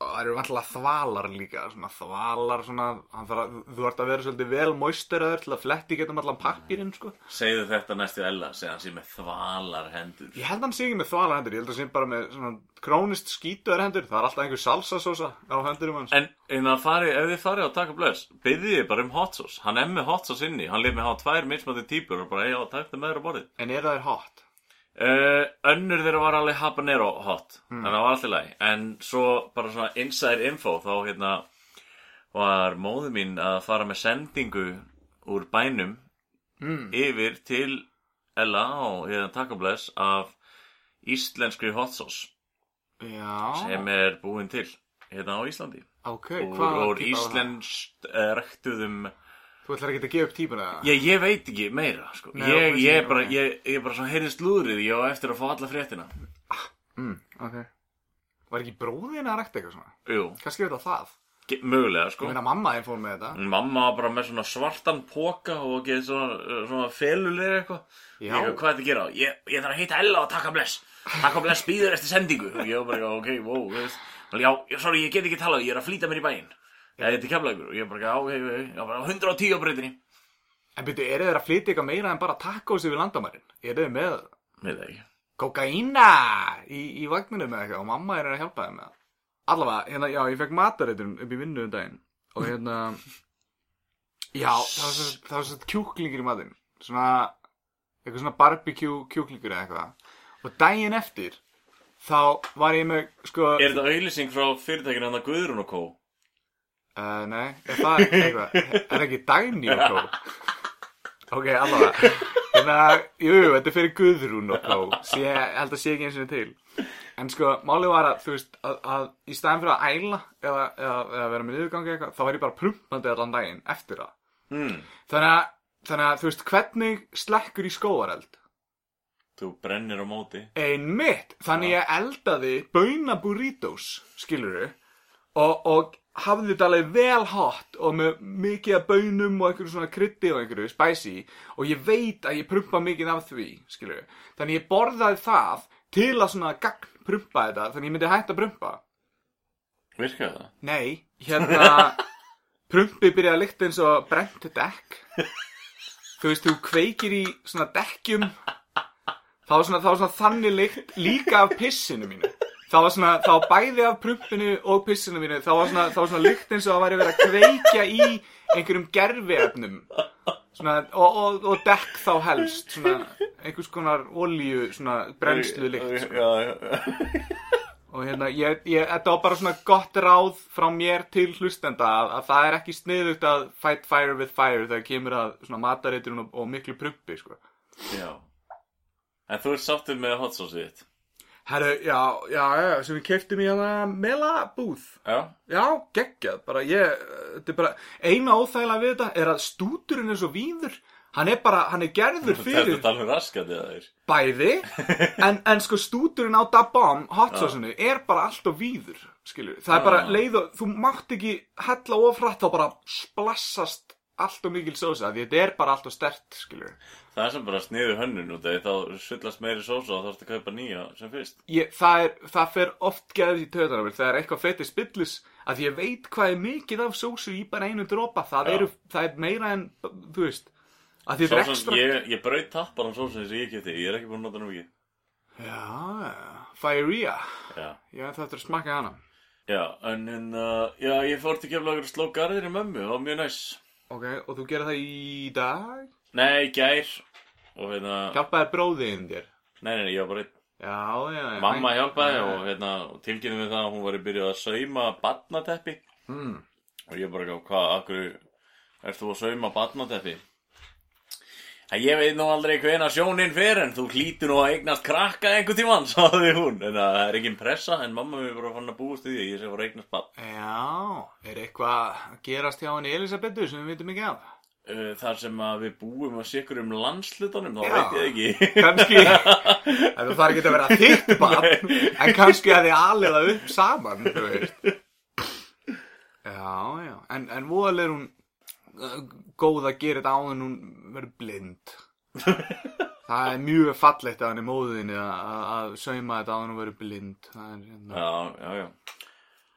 Speaker 2: það eru vantilega þvalar líka, svona þvalar, svona, hann þarf að, þú ert að vera svolítið vel moisteraður til að fletti getum allan pappirinn, sko.
Speaker 1: segðu þetta næstu Ella, segja hann sé með þvalar hendur
Speaker 2: Ég held að hann sé ekki með þvalar hendur, ég held að hann sé bara með svona krónist skítuðar hendur, það er alltaf einhver salsasósa á hendurum hans.
Speaker 1: En innan að fari, ef þið farið á Taco Bless Byðið þið bara um hot sauce Hann er með hot sauce inni Hann lef með að hafa tvær mismandi típur Og bara, já, takk það með þér á borðið
Speaker 2: En eru þær hot?
Speaker 1: uh, Önnur þeirra var alveg habanero hot Þannig að það var alltaf læg En svo bara svona inside info Þá hérna var móðu mín að fara með sendingu Úr bænum Hmm. Yfir til Ella og hérna Taco Bless Af íslenskri hot sauce
Speaker 2: Já,
Speaker 1: Sem er búin til Hérna á Íslandi
Speaker 2: ok,
Speaker 1: úr,
Speaker 2: hvað
Speaker 1: úr íslenskt uh, rektuðum
Speaker 2: Þú ætlar ekki að gefa upp típuna það?
Speaker 1: ég, ég veit ekki meira sko.
Speaker 2: Nei,
Speaker 1: ég,
Speaker 2: ok,
Speaker 1: ég, er
Speaker 2: ok.
Speaker 1: bara, ég, ég er bara svona heyrðist lúðrið ég á eftir að fá alla fréttina
Speaker 2: Hmm, Ok. Var ekki bróðin að rækta eitthvað svona?
Speaker 1: Jú,
Speaker 2: Kannski er þetta það?
Speaker 1: ge- mögulega sko
Speaker 2: Ég meina mamma þín fór með þetta.
Speaker 1: mamma var bara með svona svartan póka og geði svona, uh, svona felulega eitthvað
Speaker 2: Já.
Speaker 1: Ég eitthvað, hvað þetta gera á? Ég, ég þarf að hitta Ella og taka bless Taka bless býður eftir sendingu Og ég var bara, ok, wow þú veist. Hún, Já, já, sorry, ég get ekki talað, ég er að flýta mér í bæinn Ég heiti kemleikur og ég bara, já, ok, ok, já, bara 110 á breytinni
Speaker 2: En byrju, eru þeir að flytja eitthvað meira en bara tacos yfir landamærin? Eru þeir með
Speaker 1: Með það ekki
Speaker 2: kokaína í, í vagninum eða eitthvað og mamma er að hjálpa þeim með það? Allavega, hérna, já, ég fekk matareiturinn upp í vinnu um daginn og hérna, Já, það var svo- það var svo kjúklingur í matinn Svona, eitthvað svona barbecue kjúklingur eða eitthvað Og daginn eftir, þá var ég með, sko
Speaker 1: Er þetta auðlýsing frá fyrirtækinu hann að Guðrún og Kó?
Speaker 2: Uh, nei, er það eitthvað, er það ekki Dagný og Kó? ok, allavega. Þannig að, jú, jú, þetta er fyrir Guðrún og Kó, sé, ég held að sé ekki eins og til. En sko, málið var að, þú veist, að, að í staðin fyrir að æla eða, eða, eða vera með yfirgangi eitthvað, þá var ég bara prumpandi allan daginn eftir það.
Speaker 1: Hmm,
Speaker 2: Þannig að, þannig að, þú veist, hvernig slekkur í skóareld?
Speaker 1: þú brennir á móti.
Speaker 2: Einmitt, þannig ég eldaði bauna burritos, skilurðu, og, og hafði þetta alveg vel hot og með mikið af baunum og einhverju svona krytti og einhverju spicy og ég veit að ég prumpa mikið af því, skilurðu. Þannig ég borðaði það til að svona gagn prumpa þetta, þannig ég myndi hægt að prumpa.
Speaker 1: Virkaði það?
Speaker 2: Nei, hérna prumpi byrjaði að lykta eins og brent dekk Þú veist, þú kveikir í svona dekkjum þá var svona, þá var svona þannig lykt líka af pissinu mínu þá var svona, þá bæði af prumpinu og pissinu mínu, þá var svona, þá var svona lykt eins og það væri verið að kveikja í einhverjum gerfiöfnum svona, og, og, og dekk þá helst svona, einhvers konar olíu, svona brennslu lykt sko.
Speaker 1: Já, já, já.
Speaker 2: Og hérna, ég, ég, þetta var bara svona gott ráð frá mér til hlustenda að, að það er ekki sniðugt að fight fire with fire þegar kemur að svona matareiturinn og, og miklu prumpi, sko.
Speaker 1: já. En þú ert sáttur með hot sauce þitt?
Speaker 2: Herru, já, já, já, sem við keftum í hana melabúð.
Speaker 1: Já.
Speaker 2: Já, geggjað, bara ég, þetta er bara, eina óþægilega við þetta er að stúturinn er svo víður, hann er bara, hann er gerður
Speaker 1: Þetta
Speaker 2: fyrir
Speaker 1: er alveg raskandi að um þeir.
Speaker 2: bæði,
Speaker 1: [laughs]
Speaker 2: en, en sko stúturinn á Dabam, hotsásinu, er bara alltaf víður, skilur. Það er bara
Speaker 1: Já.
Speaker 2: leið og, þú mátt ekki hella ofrætt þá bara splassast alltaf mikil sósa, því þetta er bara alltaf stert, skilur.
Speaker 1: Það er sem bara sniðu hönnun út af því þá sullast meiri sósa og þá ertu að kaupa nýja sem fyrst.
Speaker 2: Ég, það, er, það fer oft geðið í töðan á mér, það er eitthvað fetið spillis, að ég veit hvað er mikið af sósu í bara einu dropa, það,
Speaker 1: Já.
Speaker 2: eru, það er meira en, þú veist, að því þetta er
Speaker 1: Sósan,
Speaker 2: ekstra.
Speaker 1: ég, ég braut tappar á sósan sem ég geti, ég er ekki búin að nota hana mikið.
Speaker 2: Já, Fairia,
Speaker 1: Já.
Speaker 2: ég ætla eftir að smakka hana.
Speaker 1: Já, en en, uh, já, ég fór til keflagur að sló garðir í mömmu, það var mjög næs.
Speaker 2: Ok, og þú gerir það í dag?
Speaker 1: Nei, gær. Og hérna,
Speaker 2: Hjálpaði bróðiðin þér?
Speaker 1: nei, nei, nei, ég var bara einn.
Speaker 2: Já, já, já.
Speaker 1: Mamma hjálpaði og hérna, tilkynnið við það að hún var í byrjuð að sauma batnateppi
Speaker 2: Mm.
Speaker 1: og ég bara gaf, hvað, akkur ert þú að sauma batnateppi? Að ég veit nú aldrei hvena sjónin fer en þú hlýtur nú að eignast krakka einhvern tímann, [laughs] sagði hún en að það er ekki pressa en mamma mér bara fann að búast í því að ég sé að fara að eignast batn
Speaker 2: Já, er eitthvað að gerast hjá henni Elisabetu sem við vitum ekki af?
Speaker 1: Uh, Þar sem að við búum að sikur um landslutunum, þá
Speaker 2: Já.
Speaker 1: veit ég ekki
Speaker 2: Kanski, það þarf ekki að vera þitt
Speaker 1: [laughs]
Speaker 2: barn, en kannski að þið aðlega upp saman, þú veist. Já, já, en, en voðal er hún uh, góð að gera þetta áður en hún verður blind. Það er mjög fallegt að hann er móðinni að, að- að sauma þetta áður en hún verður blind. Það er, hérna,
Speaker 1: Já, já, já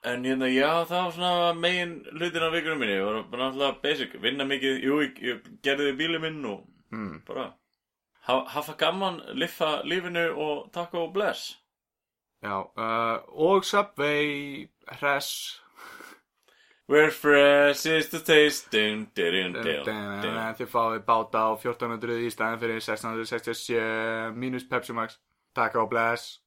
Speaker 1: En hérna, já, það var svona megin hlutin af vikunum minni Ég var bara náttúrulega basic, vinna mikið Jú, ég, ég gerði því bílum minn og
Speaker 2: mm.
Speaker 1: bara ha- Hafa gaman, liffa lífinu og takk og bless
Speaker 2: Já, uh, og Subway, Hress,
Speaker 1: We're fresh is the taste Dun, dun, dun, dun
Speaker 2: þið fáið báta á 1400 í staðin fyrir 1667 mínus Pepsi Max. Takk og bless.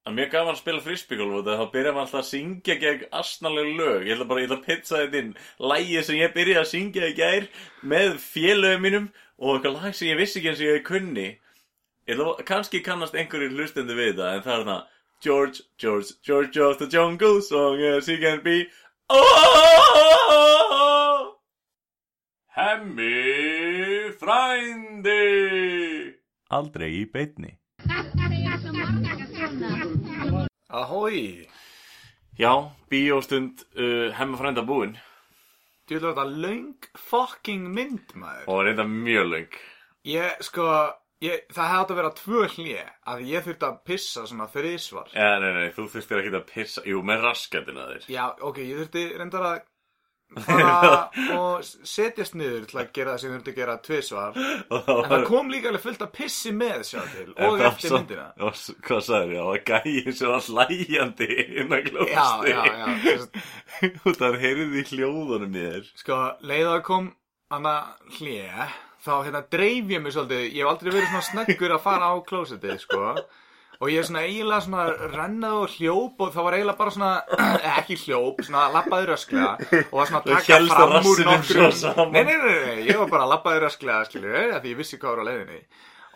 Speaker 1: Það er mjög gaman að spila frísbyggólf og þá byrjar maður alltaf að syngja gegn asnaleg lög. Ég ætla bara, ég ætla að pizza þetta inn. Lægið sem ég byrjaði að syngja í gær með félögum mínum og eitthvað lag sem ég vissi ekki eins og ég kunni. Ég ætla, að- kannski kannast einhverjir hlustandi við þetta en það er þarna George, George, George of the Jungle song as he can be. Oh! Hemmi frændi! Aldrei í beitni.
Speaker 2: Ahoi!
Speaker 1: Já, bíóstund uh, hemma frænda búinn
Speaker 2: Þú ætlar þetta löng fucking mynd, maður.
Speaker 1: og reynda mjög löng.
Speaker 2: Ég, sko, ég, það hefði átt að vera tvö hlje að ég þurfti að pissa svona þriðsvar.
Speaker 1: Já, Eh, nei, nei, þú þurftir ekki að pissa, jú, með raskatina þér.
Speaker 2: Já, ok, ég þurfti
Speaker 1: [laughs]
Speaker 2: reyndar að fara og setjast niður til að gera það sem ég þurfti að gera tvisvar.
Speaker 1: [laughs] Og það
Speaker 2: En það kom líka alveg fullt að pissi með sjá til og eftir myndina.
Speaker 1: Og, s- hvað sagður, já, að gæja sem var hlæjandi innan [laughs]
Speaker 2: Já,
Speaker 1: klósti.
Speaker 2: já, já.
Speaker 1: og það heyrði í hljóðunum í þér.
Speaker 2: Sko, leið að kom annað hlje þá hérna dreif ég mig svolítið ég hef aldrei verið svona snöggur að fara á klósetið sko og ég er svona eiginlega svona rennað og hljóp og það var eiginlega bara svona [clears throat] eh, ekki hljóp, svona labbaði rösklega og var svona að
Speaker 1: Þú
Speaker 2: taka
Speaker 1: hélst að
Speaker 2: fram úr
Speaker 1: rassinum svo
Speaker 2: nokkrum
Speaker 1: saman.
Speaker 2: nei, nei, nei, nei, ég var bara að labbaði rösklega skilur, af því ég vissi hvað var á leiðinni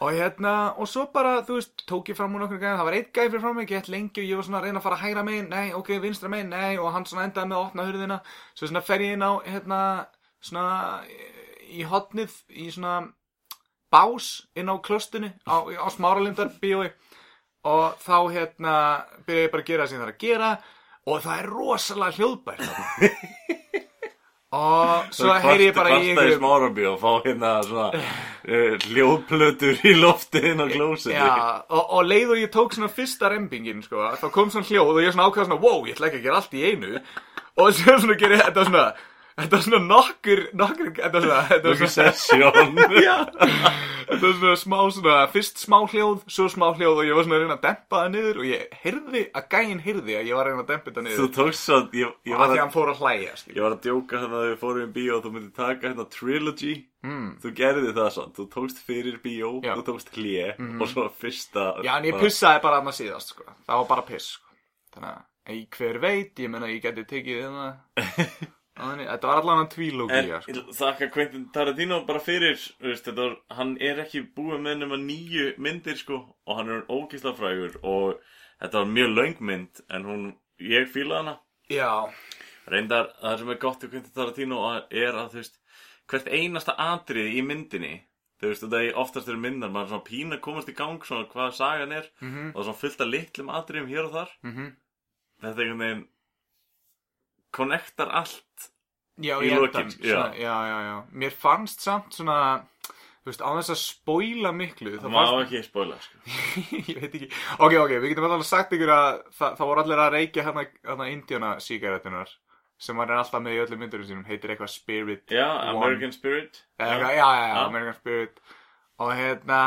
Speaker 2: og hérna, og svo bara, þú veist tók ég fram úr nokkrum gæðin, það var eitt gæði fyrir fram mig gett lengi og ég var svona að reyna að fara hægra megin nei, ok, vinstra megin, nei, og hann svona endaði með að opna hurðina, svo svona fer ég inn á hérna, svona í hotnið, í svona bás inn á klostinu á, á smáralindar og þá hérna byrja ég bara að gera það sem ég þarf að gera og það er rosalega hljóðbært þarna. og svo heyri ég bara í
Speaker 1: einhverjum
Speaker 2: einhverjum
Speaker 1: smárabí og fá hérna
Speaker 2: [sighs]
Speaker 1: svona uh, hljóðplötur í loftiðin á klósetti
Speaker 2: Já, og, og leið og ég tók svona fyrsta rembingin sko, þá kom svona hljóð og ég svona ákvað svona wow, ég ætla ekki að gera allt í einu og svo svona gerir þetta var svona þetta var svona nokkur, nokkur þetta var svona, þetta var
Speaker 1: Þessi
Speaker 2: svona
Speaker 1: sessjón
Speaker 2: [laughs] Já, þetta var svona smá svona, fyrst smá hljóð, svo smá hljóð og ég var svona að reyna að dempa það niður og ég heyrði að gæinn heyrði að ég var að reyna að dempa það
Speaker 1: Þú
Speaker 2: niður
Speaker 1: tókst svo ég, ég,
Speaker 2: af
Speaker 1: var
Speaker 2: því að
Speaker 1: að,
Speaker 2: hann fór að hlæja sko. skilur.
Speaker 1: ég var að djóka hérna þegar við fórum í bíó og þú myndir taka hérna trilogy mm. Þú gerði það svona, þú tókst fyrir bíó,
Speaker 2: Hmm. Já. Mhm.
Speaker 1: þú tókst hlje og svo fyrsta
Speaker 2: Já, en ég pissaði bara annað síðast, sko. Það var bara piss, sko. Þannig að, ei, hver veit, ég menna, ég geti tekið þetta.
Speaker 1: [laughs]
Speaker 2: Þannig, þetta var allan að tvílóki,
Speaker 1: En
Speaker 2: já, sko.
Speaker 1: þakka Quentin Tarantino bara fyrir þú veist, þetta, var- hann er ekki búið með nema nýju myndir sko og hann er hann ógislega frægur og þetta var mjög löng mynd en hún, ég fíla hana
Speaker 2: Já,
Speaker 1: reyndar það sem er gott í Quentin Tarantino að- er að þú veist hvert einasta atrið í myndinni þú veist þetta er oftast eru myndar maður er svona pína komast í gang svona hvað sagan er
Speaker 2: mhm,
Speaker 1: og það er svona fullt af litlum atriðum hér og þar
Speaker 2: mhm.
Speaker 1: þetta einhvern veginn connectar allt
Speaker 2: Já,
Speaker 1: Í
Speaker 2: ég held
Speaker 1: lokin,
Speaker 2: að, svona, já, já, já. Mér fannst samt svona, þú veist, á þess að spóila miklu,
Speaker 1: það
Speaker 2: það
Speaker 1: má
Speaker 2: fannst,
Speaker 1: ekki spoila sko
Speaker 2: [laughs] ég veit ekki, ok, ok, við getum alveg sagt ykkur að það, það voru allir að reykja hana, hana indjóna sígarettunar sem hann er alltaf með í öllum myndurum sínum, heitir eitthvað Spirit
Speaker 1: já,
Speaker 2: One.
Speaker 1: American Spirit
Speaker 2: Já, já, já, já,
Speaker 1: Já.
Speaker 2: American Spirit og hérna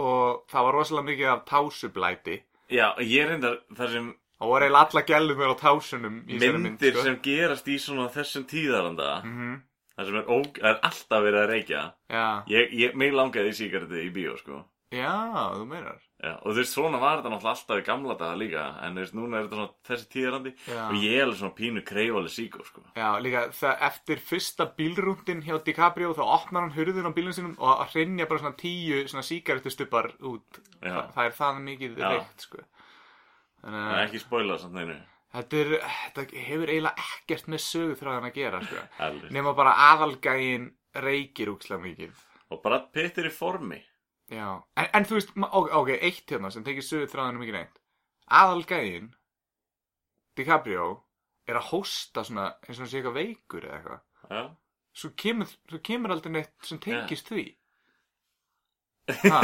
Speaker 2: og það var rosalega mikið af tásublæti
Speaker 1: Já, ég reyndar þar sem
Speaker 2: og voru eiginlega alla gælum verið á tásunum í þessari mynd,
Speaker 1: myndir
Speaker 2: sko.
Speaker 1: sem gerast í svona þessum tíðaranda
Speaker 2: Mhm,
Speaker 1: þar sem er, ó, er alltaf verið að reykja
Speaker 2: Já,
Speaker 1: ég, ég, mig langaði í sígarettu í bíó sko
Speaker 2: já, þú meinar
Speaker 1: Já, og þú veist, svona var þetta náttúrulega alltaf í gamla daga líka en þú veist, núna er þetta svona þessi tíðarandi
Speaker 2: Já.
Speaker 1: og ég er alveg svona pínu kreifalið síkó sko
Speaker 2: Já, líka það eftir fyrsta bílrúndin hjá DiCaprio þá opnar hann hurðin á bílun sínum og að hreinja bara svona tíu svona sígarettustubbar út
Speaker 1: Já.
Speaker 2: Þa, það er það mikið
Speaker 1: Já.
Speaker 2: reykt, sko Þannig
Speaker 1: Það
Speaker 2: að
Speaker 1: er ekki spoilað samt neinu
Speaker 2: þetta, er, þetta hefur eiginlega ekkert með sögu þráðan að gera, sko
Speaker 1: Elvis.
Speaker 2: nema bara aðalgægin reykir úkslega mikið
Speaker 1: Og bara pittir í formi
Speaker 2: Já, en, en þú veist, ma- ok, ok, eitt hérna sem tekið sögur þráðinu mikið neitt Aðalgægin, DiCaprio, er að hósta svona eins og hann sé eitthvað veikur eða eitthvað
Speaker 1: Já,
Speaker 2: Svo kemur, svo kemur aldrei neitt sem tengist því
Speaker 1: [laughs]
Speaker 2: ha,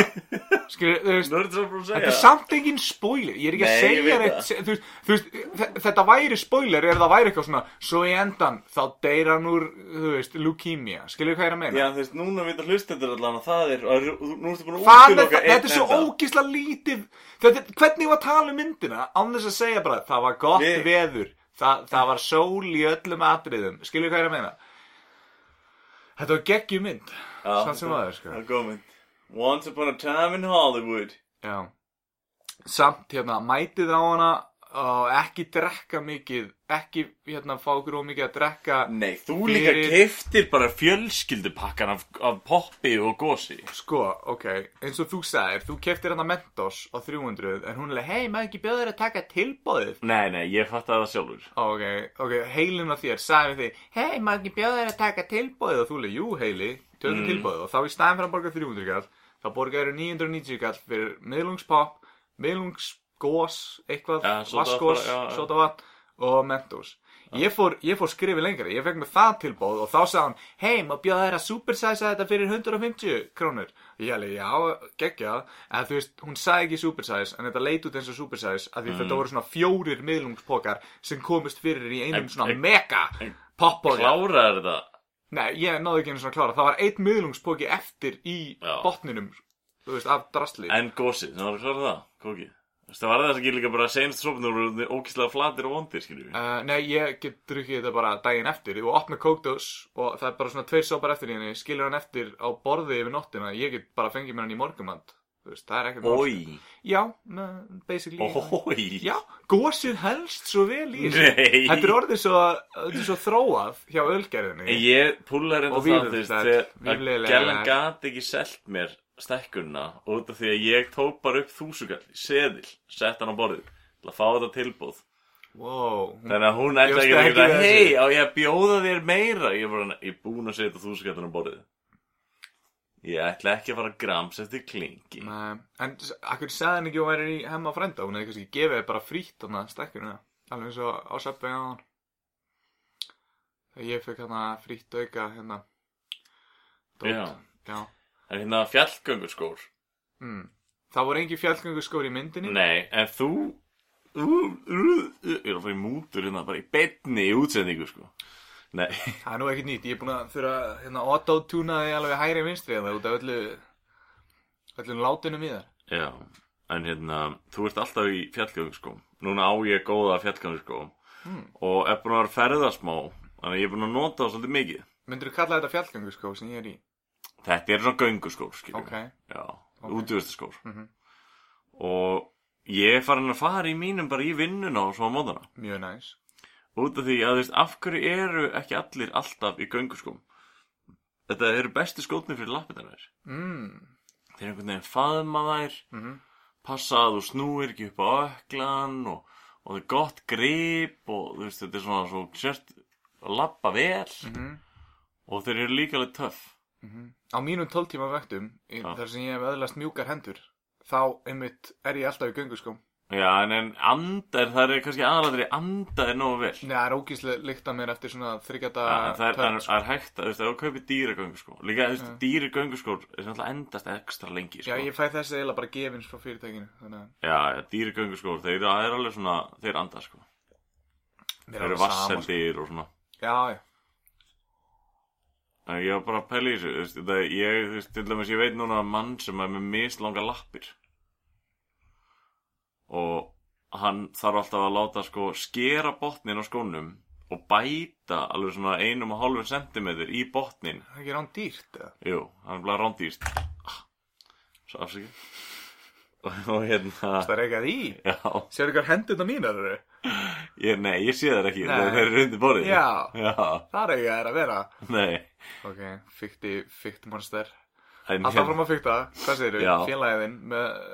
Speaker 2: Skilur, þú veist,
Speaker 1: nú er þetta svo búin að
Speaker 2: þetta
Speaker 1: segja
Speaker 2: er samt engin spoiler Ég er ekki
Speaker 1: Nei,
Speaker 2: að
Speaker 1: ég
Speaker 2: segja
Speaker 1: veit
Speaker 2: neitt
Speaker 1: það.
Speaker 2: se- þú veist, þú veist, þe- Þetta væri spoiler ef það væri eitthvað svona Svo í endan, þá deyr hann úr, þú veist, leukemia Skilur hvað ég er að meina?
Speaker 1: Já, þú veist, núna vita hlustendur allan að það er og þú- nú ertu búin að
Speaker 2: Hvað með
Speaker 1: útiloka
Speaker 2: það? Þetta er
Speaker 1: einn
Speaker 2: svo
Speaker 1: enda.
Speaker 2: ógísla lítið þetta, er- Hvernig ég var að tala um myndina án þess að segja bara það var gott
Speaker 1: Við-
Speaker 2: veður það, það var sól í öllum atriðum Skilju hvað ég er að meina? Þetta var geggjum mynd
Speaker 1: Já,
Speaker 2: Samt sem aður
Speaker 1: Það
Speaker 2: sko
Speaker 1: er góð mynd Once upon a time in Hollywood
Speaker 2: Já. Samt hérna mætið á hana og ekki drekka mikið ekki hérna fá okkur ómikið að drekka
Speaker 1: Nei, þú
Speaker 2: Fyrir-
Speaker 1: líka keftir bara fjölskyldupakkan af, af poppi og gósi
Speaker 2: Sko, ok, eins og þú sagðir þú keftir hana Mentos á 300 en hún er leið, hei, maður ekki bjóður að taka tilbóðið
Speaker 1: Nei, nei, ég fatt að það sjálfur
Speaker 2: Ok, ok, heilin á þér sagði við því, hei, maður ekki bjóða þér að taka tilbóðið og þú leið, jú, heili, tökum mm. tilbóðið og þá í staðin fyrir að borga 300 kall, þá borgaður 990 kall fyrir miðlungspop, miðlungsgós, eitthvað,
Speaker 1: Ja, sódavatn
Speaker 2: vaskgós,
Speaker 1: bara, já, já.
Speaker 2: sótavatn og mentos. Ég fór, ég fór skrifi lengra, ég fekk mér það tilbóð og þá sagði hann, hei, maður bjóða þér að supersæsa þetta fyrir 150 krónur. Ég held, já, geggjað, en þú veist, hún sagði ekki supersize, en þetta leit út eins og supersize, af því
Speaker 1: Mm.
Speaker 2: þetta voru svona fjórir miðlungspokar sem komist fyrir í einum
Speaker 1: En-
Speaker 2: svona
Speaker 1: en-
Speaker 2: mega
Speaker 1: en-
Speaker 2: poppoja.
Speaker 1: Kláraður þetta
Speaker 2: Nei, ég náði ekki einu svona klára, það var einn miðlungspoki eftir í
Speaker 1: Já.
Speaker 2: botninum, þú veist, af drasli.
Speaker 1: En gósi, sem var að klára það, kóki Það var það ekki líka bara senst sopnur og ókýrslega flatir og vondir, skiljum við.
Speaker 2: Uh, nei, ég get drukkið þetta bara daginn eftir og opna kókdós og það er bara svona tveir sopar eftir í henni, skilur hann eftir á borði yfir nóttina, ég get bara fengið mér hann í morgumand, þú veist, það er ekkert mál.
Speaker 1: Ói,
Speaker 2: Já, me- basically.
Speaker 1: ói.
Speaker 2: Já, gósið helst svo vel í þessu.
Speaker 1: Nei.
Speaker 2: Þetta er orðið svo, þetta er svo þróað hjá ölgerðinni.
Speaker 1: Ég púla reynda
Speaker 2: Og
Speaker 1: það,
Speaker 2: víðum,
Speaker 1: þú veist,
Speaker 2: það er
Speaker 1: þegar að
Speaker 2: vífilega
Speaker 1: gælan
Speaker 2: lag.
Speaker 1: gati ekki selt mér stekkunna út af því að ég tók bara upp þúsugall, seðil, sett hann á borðið til að fá þetta tilbúð.
Speaker 2: Wow, hún
Speaker 1: Þannig að hún ætla
Speaker 2: Bjóst
Speaker 1: ekki að
Speaker 2: ekki
Speaker 1: geta,
Speaker 2: við þessu.
Speaker 1: hei, á ég að bjóða þér meira. Ég var ég er búin að setja þúsugallin á borðið. Ég ætla ekki að fara að grams eftir klingi.
Speaker 2: Nei, en s- akkur sagði hann ekki að hún væri í hemma frænda, hún hefði kannski gefið þér bara frýtt hann að stekkurinn alveg eins og á söpvegin á hann. Þegar ég fekk hann að frýtt auka hérna. dót.
Speaker 1: Já.
Speaker 2: Já.
Speaker 1: En hérna fjallgönguskór.
Speaker 2: Mm. Það voru engin fjallgöngu skóri í myndinni.
Speaker 1: Nei, en þú Ú, ú, ú, Ég er að fara í mútur hérna bara í betni í útsendingu sko Nei,
Speaker 2: Það er nú ekkert nýtt, ég er búin að þurfa að, hérna autotuna þig alveg hægri vinstri eða út af öllu, öllum látunum í þar.
Speaker 1: já En hérna, þú ert alltaf í fjallgöngu Núna á ég góða fjallgöngu Og er búin að vera að ferða smá Þannig að ég er búin að nota það svolítið mikið
Speaker 2: Myndur þú kalla þetta fjallgöngu sem ég er í?
Speaker 1: Þetta er svona göngu skór skilur
Speaker 2: Ok.
Speaker 1: Já,
Speaker 2: Ok.
Speaker 1: okay. útvistaskór
Speaker 2: Mhm.
Speaker 1: Og ég er farin að fara í mínum bara í vinnuna og svo á móðana
Speaker 2: Mjög næs.
Speaker 1: út af því að þú veist, af hverju eru ekki allir alltaf í gönguskóm þetta eru bestu skótnir fyrir lappinarverð
Speaker 2: Mm.
Speaker 1: þeir einhvern veginn faðma þær
Speaker 2: Mm
Speaker 1: passa að þú snúir ekki upp á öklan og, og það er gott grip og þú veist, þetta er svona svo sért að lappa vel og þeir eru líka alveg töff
Speaker 2: Mhm. á mínum 12 tíma vöktum í-
Speaker 1: Já.
Speaker 2: þar sem ég hef öðlast mjúkar hendur þá einmitt er ég alltaf í sko. gönguskum
Speaker 1: Já, en, en andar, það er kannski aðalatri andar er nógu vel
Speaker 2: Nei, það er ógíslega líkt að mér eftir svona þryggjata
Speaker 1: Já, Ah, en það er, það
Speaker 2: sko.
Speaker 1: er, það er hægt að, þú veist, ef þú kaupir dýra gönguskó líka, þú veist,
Speaker 2: Já.
Speaker 1: dýri gönguskór er sem endast ekstra lengi, sko
Speaker 2: Já, ég fæ þessi eiginlega bara gefins frá fyrirtækinu þannig að
Speaker 1: Já, já dýrgönguskór, þeir það er alveg svona, þeir anda sko.
Speaker 2: mér
Speaker 1: Þeir
Speaker 2: er
Speaker 1: eru
Speaker 2: alveg sama, sko.
Speaker 1: vassendir og svona.
Speaker 2: Já, já,
Speaker 1: En ég var bara að pæla í þessu, þú veist, þetta, ég, þú veist, til dæmis, ég veit núna að mann sem er með mislanga lappir. Og hann þarf alltaf að láta sko skera botnin á skónum og bæta alveg svona einum og hálfur sentimeter í botnin.
Speaker 2: það er ekki rán dýrt eða?
Speaker 1: Jú, hann er bara rándýrst. Ah, Svo afsakið. Og, og hérna,
Speaker 2: Það er ekki að því
Speaker 1: já,
Speaker 2: Sér ykkur hendurna mínar eru
Speaker 1: ég, nei, ég sé þær ekki,
Speaker 2: Nei.
Speaker 1: þeir þeir eru undir borðið.
Speaker 2: Já,
Speaker 1: Já,
Speaker 2: það er ekki að er að vera
Speaker 1: nei.
Speaker 2: Ok, fykti, fykti monster
Speaker 1: En hérna-
Speaker 2: Alltaf fram að fykta, hvað segirðu?
Speaker 1: Já.
Speaker 2: Félagiðin með uh,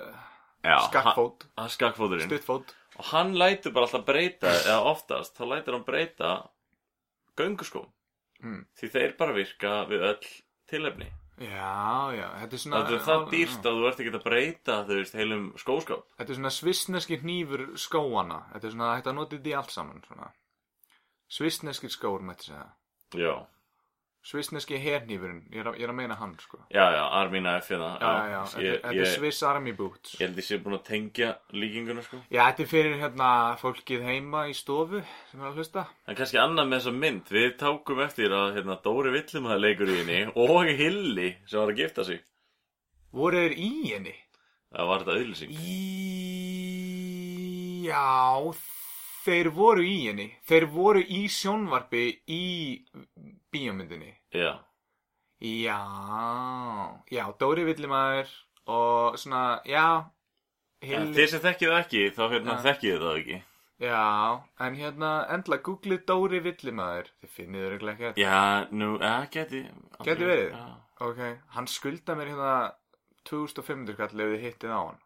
Speaker 1: já,
Speaker 2: skakkfót,
Speaker 1: hann- hann Skakkfóturinn
Speaker 2: stuttfót
Speaker 1: Og hann lætur bara alltaf breyta Eða oftast, þá lætur hann breyta Gönguskóm
Speaker 2: Mm.
Speaker 1: Því þeir bara virka við öll tilefni
Speaker 2: Já, já, þetta er svona
Speaker 1: Það er það dýrt að þú ert ekki að breyta Þau veist heilum skóskáp
Speaker 2: Þetta er svona svissneski hnífur skóana. Þetta er svona hægt að nota þetta í allt saman. Svona. Svissneskir skór, mætti segja.
Speaker 1: Já,
Speaker 2: Svissneski herhnífurinn, ég, er að- ég er að meina hann, sko.
Speaker 1: já, já, Armina F hérna
Speaker 2: Já, já, já.
Speaker 1: Ég,
Speaker 2: Þetta, þetta
Speaker 1: ég,
Speaker 2: er Swiss Army Boots.
Speaker 1: ég held ég sé búin að tengja líkinguna sko
Speaker 2: Já, þetta er fyrir hérna fólkið heima í stofu sem er að hlusta.
Speaker 1: En kannski annað með þessa mynd Við tákum eftir að hérna, Dóri Villum Það leikur í henni og Hilli Sem var að gifta sig
Speaker 2: Voru þeir í henni?
Speaker 1: Það var þetta auðlýsing
Speaker 2: Í... Já, þeir voru í henni. Þeir voru í sjónvarpi í bíómyndinni.
Speaker 1: Já
Speaker 2: Já, já, Dóri Villimæður og svona, já,
Speaker 1: Ja,
Speaker 2: Hilli,
Speaker 1: Þeir sem þekkið það ekki, þá hérna
Speaker 2: Ja.
Speaker 1: þekkið þið það ekki.
Speaker 2: já, en hérna, endla, googlið Dóri Villimæður, þið finnið þau ekki að,
Speaker 1: Já, nú, eða, geti. aldrei-
Speaker 2: Gæti verið.
Speaker 1: Já,
Speaker 2: ok, hann skulda mér hérna 2500 kall ef þið hittið á hann,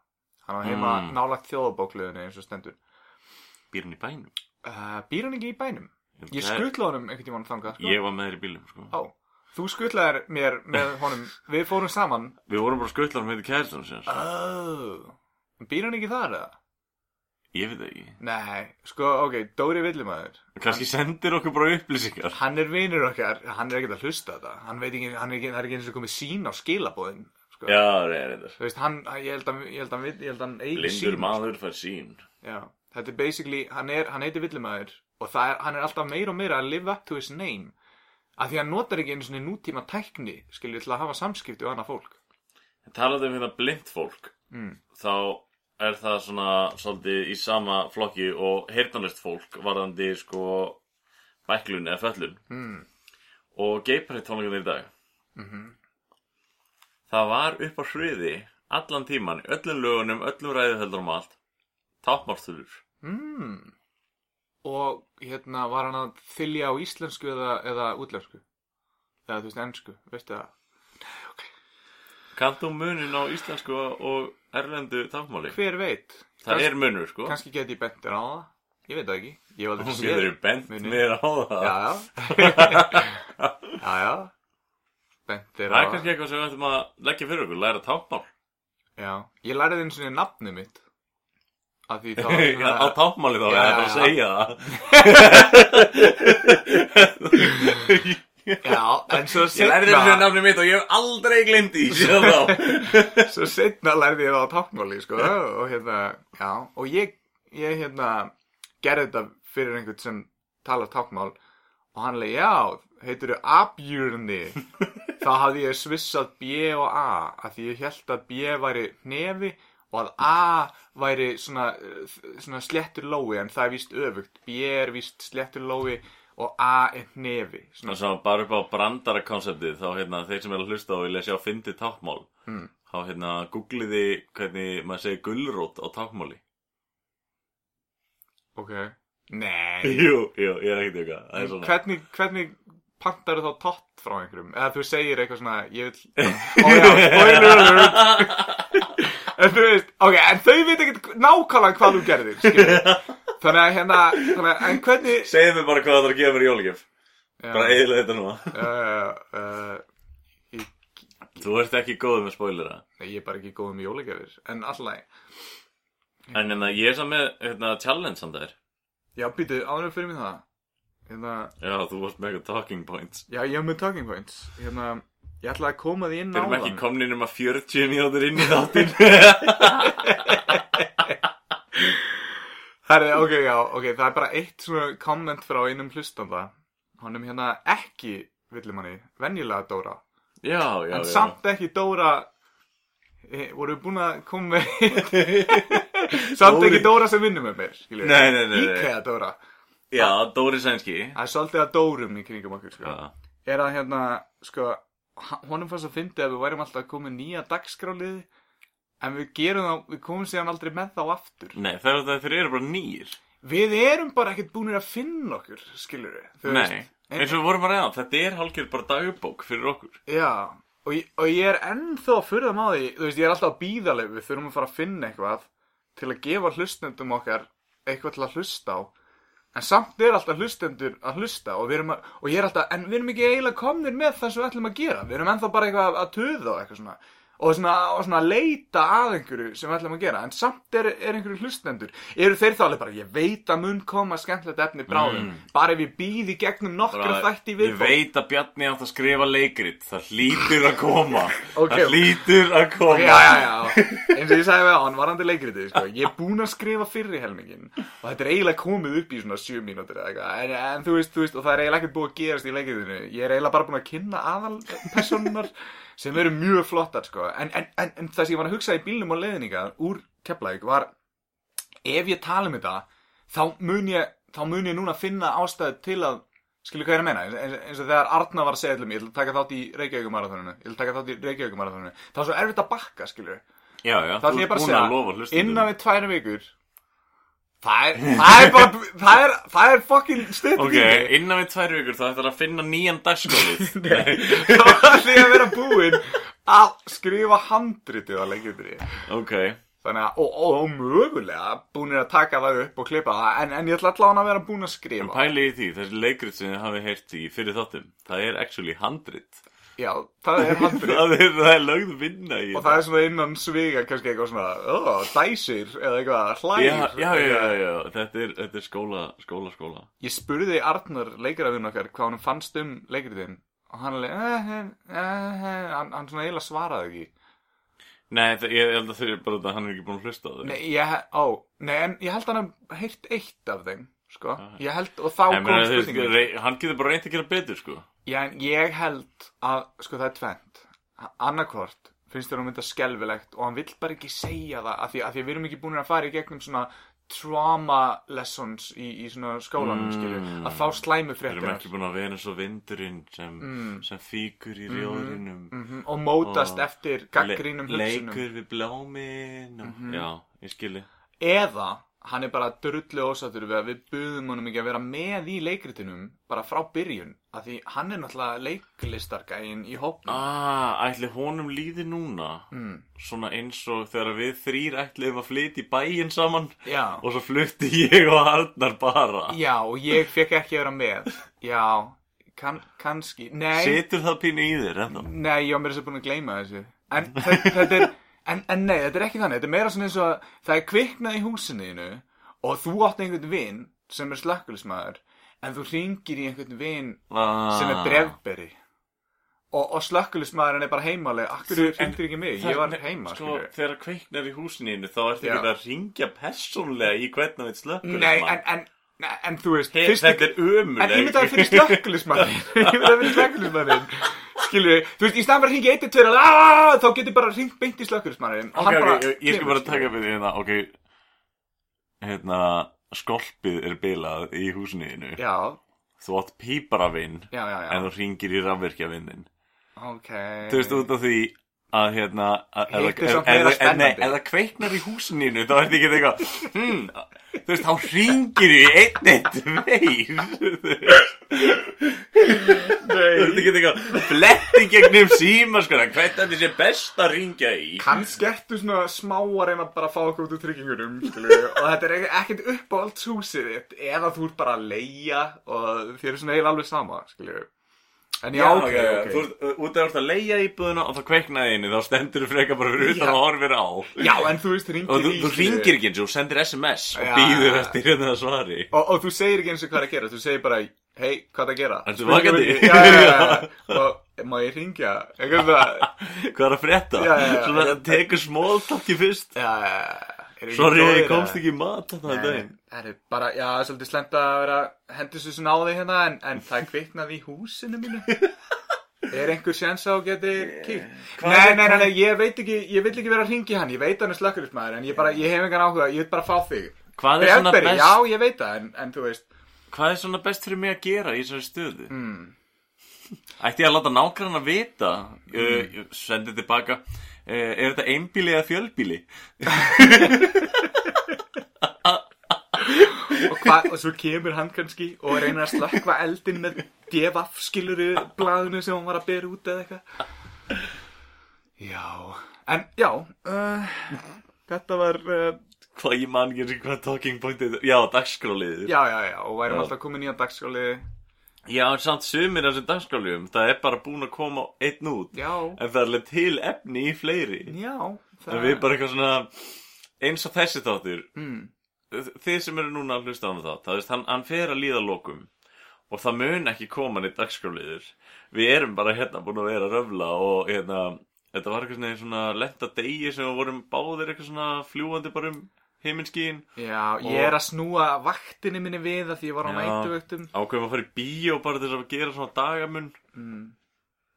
Speaker 2: hann var heima
Speaker 1: Mm.
Speaker 2: nálægt þjóðabókluðinu eins og stendur,
Speaker 1: býr hann í bænum.
Speaker 2: uh, býr hann ekki í bænum? Ég
Speaker 1: Það-
Speaker 2: skutla honum einhvern tímann þangað, sko,
Speaker 1: Ég var með þér í bílum, sko.
Speaker 2: á, þú skutlaðir mér
Speaker 1: [laughs]
Speaker 2: með honum, við fórum saman,
Speaker 1: Við vorum bara skuttlar með kæristunum sér.
Speaker 2: oh, býr hann ekki þar eða?
Speaker 1: Ég veit það ekki.
Speaker 2: Nei, sko, ok, Dóri Villimæður
Speaker 1: Kanski sendir okkur bara upplýsingar.
Speaker 2: hann er vinur okkar, hann er ekkert að hlusta á þetta hann veit ekki, hann er ekki, það er ekki eins og komið sín á skilabóðin sko.
Speaker 1: Já, reyndar.
Speaker 2: þú veist, hann, ég held að ég held að, ég held að hann eigi
Speaker 1: Lindur
Speaker 2: sín
Speaker 1: maður fær sín.
Speaker 2: Já, þetta er basically, hann, er, hann heitir Villimæður og það er, hann er alltaf meira og meira að live up to his name af því hann notar ekki einu svona nútíma tækni skilur til að hafa samskipti og annað fólk
Speaker 1: Talandi um hérna blind fólk,
Speaker 2: mm.
Speaker 1: þá er það svona svolítið í sama flokki og heyrnalist fólk varðandi sko bæklun eða föllun mm. og geiparið tónleikarnir í dag
Speaker 2: Mhm.
Speaker 1: það var upp á hriði allan tíman, í öllum lögunum, öllum ræðuhöldurum og allt tápmárstulur
Speaker 2: Og hérna var hann að þylja á íslensku eða, eða útlensku? Eða þú veist ennsku, veistu það?
Speaker 1: Kannt þú munin á íslensku og erlendu tápmáli?
Speaker 2: Hver veit?
Speaker 1: Það
Speaker 2: Kanns-
Speaker 1: er munur sko
Speaker 2: Kannski geti ég bentir á það? Ég veit það ekki. Ég var
Speaker 1: Hún
Speaker 2: aldrei
Speaker 1: getur bent
Speaker 2: muninn.
Speaker 1: mér á það
Speaker 2: Já, já.
Speaker 1: [laughs]
Speaker 2: já, já. Bentir á
Speaker 1: Það er kannski eitthvað sem við ættum að leggja fyrir okkur, læra tápmál
Speaker 2: Já, ég lærði einu sinni nafnið mitt. Af því
Speaker 1: [laughs]
Speaker 2: þá...
Speaker 1: Á tápmáli þá,
Speaker 2: Já,
Speaker 1: ég er bara
Speaker 2: já.
Speaker 1: að segja það
Speaker 2: Já, en svo
Speaker 1: Ég lærði þessu
Speaker 2: setna,
Speaker 1: nafni mitt og ég hef aldrei glemt [laughs] því síðan þá.
Speaker 2: svo setna lærði ég það á tákmáli, sko. Og hérna, já, og ég, ég hérna, gerði þetta fyrir einhvern sem talar tákmál og hann leið, já, heitir þau abjurni. þá hafði ég svissað B og A, af því ég held að B væri nefi og að A væri svona, eh, svona slettur lói, en það er víst öfugt. B er víst slettur lói og A er nefi, svona
Speaker 1: Ná, svo bara upp á brandara konseptið, þá hérna, þeir sem er að hlusta og vilja sjá fyndi tákmál, mm. þá hérna, googliði hvernig maður segir gullrót á tákmáli.
Speaker 2: Ok. Nei.
Speaker 1: Jú, jú, ég er ekkert eitthvað, það er svona.
Speaker 2: Hvernig, hvernig pantar þá tótt frá einhverjum? Eða þú segir eitthvað svona, ég vil... Ó já,
Speaker 1: [laughs]
Speaker 2: spoiler alert! en þú veist, ok, en þau veit ekkert nákvæmlega hvað þú gerðir, skilur. Þannig að hérna, þannig að, en hvernig...
Speaker 1: Segðu mér bara hvað það er að gefa mér í jólgjöf, bara
Speaker 2: Já,
Speaker 1: eiginlega þetta núna.
Speaker 2: uh, uh,
Speaker 1: Þú ert ekki góð með spoilera.
Speaker 2: nei, ég er bara ekki góð með jólagjafir, en alltaf...
Speaker 1: En hérna, ég er saman með hérna, challenge samt þær.
Speaker 2: Já, býtu, ánum fyrir mig það. Hérna,
Speaker 1: Já, þú varst með eitthvað talking points.
Speaker 2: já, ég hef með talking points. Hérna, ég ætla að koma því inn
Speaker 1: Við erum
Speaker 2: áðan.
Speaker 1: ekki komnið nema 40 mínútur inn í
Speaker 2: [laughs]
Speaker 1: þáttinn.
Speaker 2: Herri, ok, já, ok, það er bara eitt svona komment frá einum hlustanda Honum hérna ekki, villum hann í, venjulega Dóra
Speaker 1: já, já,
Speaker 2: En
Speaker 1: já.
Speaker 2: samt ekki Dóra e, Voru við búin að koma með [laughs] Samt ekki Dóra sem vinnum með mér, skilju
Speaker 1: Nei, nei, nei, nei.
Speaker 2: Íkea Dóra
Speaker 1: Já, Dóri Sænski.
Speaker 2: Það er svolítið að Dórum í kringum okkur, sko
Speaker 1: Já.
Speaker 2: Er að hérna, sko h- Honum fannst að fyndi að við værum alltaf að koma með nýja dagskrálið En við gerum það, við komum síðan aldrei með þá aftur
Speaker 1: Nei, þegar það þeir eru bara nýr
Speaker 2: Við erum bara ekkert búinir að finna okkur, skilur við
Speaker 1: Nei, eins og við vorum að reyna Þetta er hálfgerð bara dagbók fyrir okkur
Speaker 2: Já, og ég, og ég er ennþá að furða maður því, þú veist, ég er alltaf að býða leið, við þurfum að fara að finna eitthvað til að gefa hlustendum okkar eitthvað til að hlusta á, en samt er alltaf hlustendur að hlusta og við erum að, og ég er alltaf, en við erum ekki eiginlega komnir með það sem við ætlum að gera, við erum ennþá bara eitthvað að- að töða og eitthvað svona, og svona, og svona að leita að einhverju sem við ætlum að gera, en samt er, er einhverju hlustendur, eru þeir þá alveg bara, ég veit að mun koma skemmtilegt efni bráðum, bara ef ég býði gegnum nokkra
Speaker 1: Mm.
Speaker 2: þætti
Speaker 1: Ég
Speaker 2: viðbót.
Speaker 1: veit að Bjarni átt að skrifa leikrit Það hlýtur að koma
Speaker 2: [laughs] Ok.
Speaker 1: Það hlýtur að koma
Speaker 2: já, já, já, eins og ég sagði við hann varandi leikritið, sko, ég er búinn að skrifa fyrri helmingin og þetta er eiginlega komið upp í svona sjö mínútur eða eitthvað, en, en þú veist, þú veist, og það er eiginlega ekkert búið að gerast í leikritinu, ég er eiginlega bara búinn að kynna aðalpersonunar sem eru mjög flottar, sko, en, en, en, en það sem ég var að hugsa í bílnum á leiðninga úr Keflæk var, ef ég tala um þetta, þá mun ég, þá mun ég núna finna ástæðu til að Skilju hvað ég er að meina, eins, eins og þegar Arna var að segja allir mig, ég ætla að taka þátt í Reykjavíkumarathoninu, ég ætla að taka þátt í Reykjavíkumarathoninu, það var svo erfitt að bakka, skilju.
Speaker 1: já, já.
Speaker 2: Það
Speaker 1: þú
Speaker 2: ætla ég
Speaker 1: ert
Speaker 2: bara
Speaker 1: búin að lofa
Speaker 2: að segja,
Speaker 1: hlustundum
Speaker 2: innan við tværi vikur, það er, það er bara, það er, það er fucking stöðt
Speaker 1: Ok,
Speaker 2: [laughs]
Speaker 1: innan við tvær vikur þá ættir að finna nýjan dagskólið
Speaker 2: Þá ætla ég að vera búinn að skrifa handritið á leikjumri.
Speaker 1: Ok,
Speaker 2: Þannig að, og, og, og mögulega búinir að taka það upp og klippa það, en, en ég ætla allavega að vera búinn að
Speaker 1: en
Speaker 2: skrifa.
Speaker 1: pæli í því Þessi leikrit sem þið hafið heyrt í fyrir þáttum Það er actually handrit
Speaker 2: Já, það er handritið.
Speaker 1: Það er, það er lögð vinna í
Speaker 2: Og það er svona innan sviga kannski eitthvað svona, ó, dæsir eða eitthvað, hlær.
Speaker 1: Já, já, já, já, já. Þetta, er, þetta er skóla, skóla, skóla
Speaker 2: Ég spurði Arnar leikarafinn okkar hvað hann fannst um leikritin og hann alveg, eh, eh, eh, eh, hann, hann svona eiginlega svaraði ekki.
Speaker 1: Nei, það, ég held að þau eru bara þetta að hann er ekki búin að hlusta á þau.
Speaker 2: Nei, ég, he- ó, nei, en ég held hann að heyrt eitt af þeim, sko. Ég held, og þá
Speaker 1: Nei,
Speaker 2: kom
Speaker 1: meni, þeir,
Speaker 2: spurningin.
Speaker 1: rey, hann getur bara reynt að gera betur, sko.
Speaker 2: Já, en ég held að, sko, það er tvent. Annarkvort finnst þér hún mynda skelfilegt og hann vill bara ekki segja það af því, af því við erum ekki búin að fara í gegnum svona trauma lessons í, í svona skólanum
Speaker 1: Mm.
Speaker 2: mm. að fá slæmu
Speaker 1: Við erum
Speaker 2: fréttir
Speaker 1: ekki búin að vera eins og vindurinn sem,
Speaker 2: Mm.
Speaker 1: sem fíkur í rjóðrinum
Speaker 2: Mhm, og mótast
Speaker 1: Og
Speaker 2: eftir gaggrínum hugsunum Mhm.
Speaker 1: Leikur við blámin og, Já, ég skilji
Speaker 2: eða hann er bara drullu ósattur við að við buðum honum ekki að vera með í leikritinum bara frá byrjun af því hann er náttúrulega leiklistargæin í hópnum
Speaker 1: Ah, ætli honum líði núna
Speaker 2: Mm.
Speaker 1: Svona eins og þegar við þrýr ætliðum að flytja í bæinn saman
Speaker 2: já,
Speaker 1: Og svo flutti ég og Arnar bara
Speaker 2: já, og ég fekk ekki að vera með já, kann, kannski nei,
Speaker 1: Setur það pínu í þér hérna? ennþá
Speaker 2: nei, ég var mér þess að búin að gleyma þessu en þe- þetta er En, en nei, þetta er ekki þannig, þetta er meira svona eins og að það er kviknað í húsinu og þú átt einhvern vin sem er slökkulismæður en þú ringir í einhvern vin
Speaker 1: ah.
Speaker 2: sem er brefberi og, og slökkulismæðurinn er bara heimaleg akkur
Speaker 1: En-
Speaker 2: hringdir ekki mig, ég var heima
Speaker 1: sko,
Speaker 2: sko,
Speaker 1: Þegar kveiknar í húsininu þá ertu
Speaker 2: Já.
Speaker 1: ekki að ringja persónlega í hvernig við slökkur
Speaker 2: nei, en, en, en, en þú veist
Speaker 1: He, Þetta er ömuleg
Speaker 2: en ímyndaði fyrir slökkulismæðurinn ímyndaði fyrir slökkulismæðurinn skilju, þú veist, í staðan fyrir að ringi 1, 2 aaaah, "Ah!", þá getur bara ringt beint í slökkulismæðurinn
Speaker 1: [laughs] Ok, ok, ég, ég skal bara taka við því hérna, ok Hérna, skolpið er bilað í húsniðinu
Speaker 2: já,
Speaker 1: Þú átt píparavinn
Speaker 2: já, já, já,
Speaker 1: En þú ringir í rafvirkjavinnin
Speaker 2: ok
Speaker 1: Þú veist út af því að hérna að- ef-
Speaker 2: Hitt er
Speaker 1: ef-
Speaker 2: samt
Speaker 1: ef-
Speaker 2: meira
Speaker 1: ef- nei,
Speaker 2: spennandi.
Speaker 1: Ef það kveiknar í húsniðinu Þá ertu ekki eitthvað hmm, Þú veist, þá ringir í einn eitt meir [laughs] Þú veist, þú ert
Speaker 2: nei
Speaker 1: ekki eitthvað Bletti gegnum síma sko Hvernig þetta sé best að ringja í
Speaker 2: kannski ertu svona smá að reyna bara að fá okkur út úr tryggingunum skilju, og þetta er ekki- ekkert upp á allt húsið þitt eða þú ert bara að leia og þér er svona eiginlega alveg sama skilju. en já, ok,
Speaker 1: já, já.
Speaker 2: ok.
Speaker 1: Þú ert uh, út af að leia íbúðuna og það kveiknaði inni, þá stendur þú frekar bara fyrir utan
Speaker 2: Já.
Speaker 1: og horfir á.
Speaker 2: já, en þú veist, ringir
Speaker 1: Og þú,
Speaker 2: í
Speaker 1: þú
Speaker 2: skilju.
Speaker 1: ringir ekki eins og þú sendir SMS og
Speaker 2: Já.
Speaker 1: býður eftir hérna það svari.
Speaker 2: og, og þú segir ekki eins og hvað er að gera þú segir bara, hei, hvað er að gera
Speaker 1: Ertu vakandi?
Speaker 2: já, já, já,
Speaker 1: [laughs]
Speaker 2: já. og má ég ringja eitthvað það
Speaker 1: Hvað er að frétta?
Speaker 2: Já, já, já.
Speaker 1: Svo það tekur smóltakki fyrst.
Speaker 2: já, já, já. Eru ekki
Speaker 1: Sorry,
Speaker 2: góðir
Speaker 1: ég
Speaker 2: að-
Speaker 1: komst ekki í mat þetta
Speaker 2: En-
Speaker 1: daginn.
Speaker 2: Það er bara, já, það er svolítið slemt að vera hendur svo svona á því hérna en, en það kviknaði í húsinu mínu
Speaker 1: [laughs]
Speaker 2: Er einhver séns á að geti kíkt?
Speaker 1: Hvað
Speaker 2: Nei,
Speaker 1: er-
Speaker 2: nei, nei, nei, ég veit ekki, ég vil ekki vera að ringi hann, ég veit hann er slökkulismæður en ég bara, ég hef engan áhuga, ég vil bara fá þig
Speaker 1: Hvað er, svona
Speaker 2: Brefberi,
Speaker 1: best,
Speaker 2: já, ég veit það, en, en þú veist
Speaker 1: hvað er svona best fyrir mig að gera í þessari stöðu? Mm.
Speaker 2: Hmm.
Speaker 1: Ætti ég að láta nákvæmna vita,
Speaker 2: Hmm.
Speaker 1: mm. uh, sendi tilbaka, uh, er þetta einbíli eða fjölbíli?
Speaker 2: og, hva, og svo kemur hann kannski og reynir að slökkva eldin með devaf skiluru blaðinu sem hann var að bera út eða eitthvað Já, en já uh, Þetta var uh,
Speaker 1: Hvað ég man ekki eins og hvað talking pointið, já, dagskráliður.
Speaker 2: Já, já, já, og værum
Speaker 1: Já.
Speaker 2: alltaf komin í að dagskóli
Speaker 1: Já, en samt sumir af þessum dagskráljum, það er bara búin að koma einn út,
Speaker 2: Já,
Speaker 1: en það er alveg til efni í fleiri.
Speaker 2: já
Speaker 1: En við bara eitthvað svona, eins og þessi þáttur,
Speaker 2: mm,
Speaker 1: þið sem eru núna að hlusta á hann þátt, það veist, hann, hann fer að líða lokum og það mun ekki koma neitt dagskráliður. Við erum bara hérna búin að vera að röfla og hérna, þetta var eitthvað svona- svona lenta degi sem við vorum báðir eitthvað svona fljúandi bara um heiminskíin.
Speaker 2: Já, ég er að snúa vaktinni minni við að því ég var á
Speaker 1: Já.
Speaker 2: nætuvöktum
Speaker 1: Ákveðum að fara í bíó bara til þess að gera svona dagamun.
Speaker 2: mm.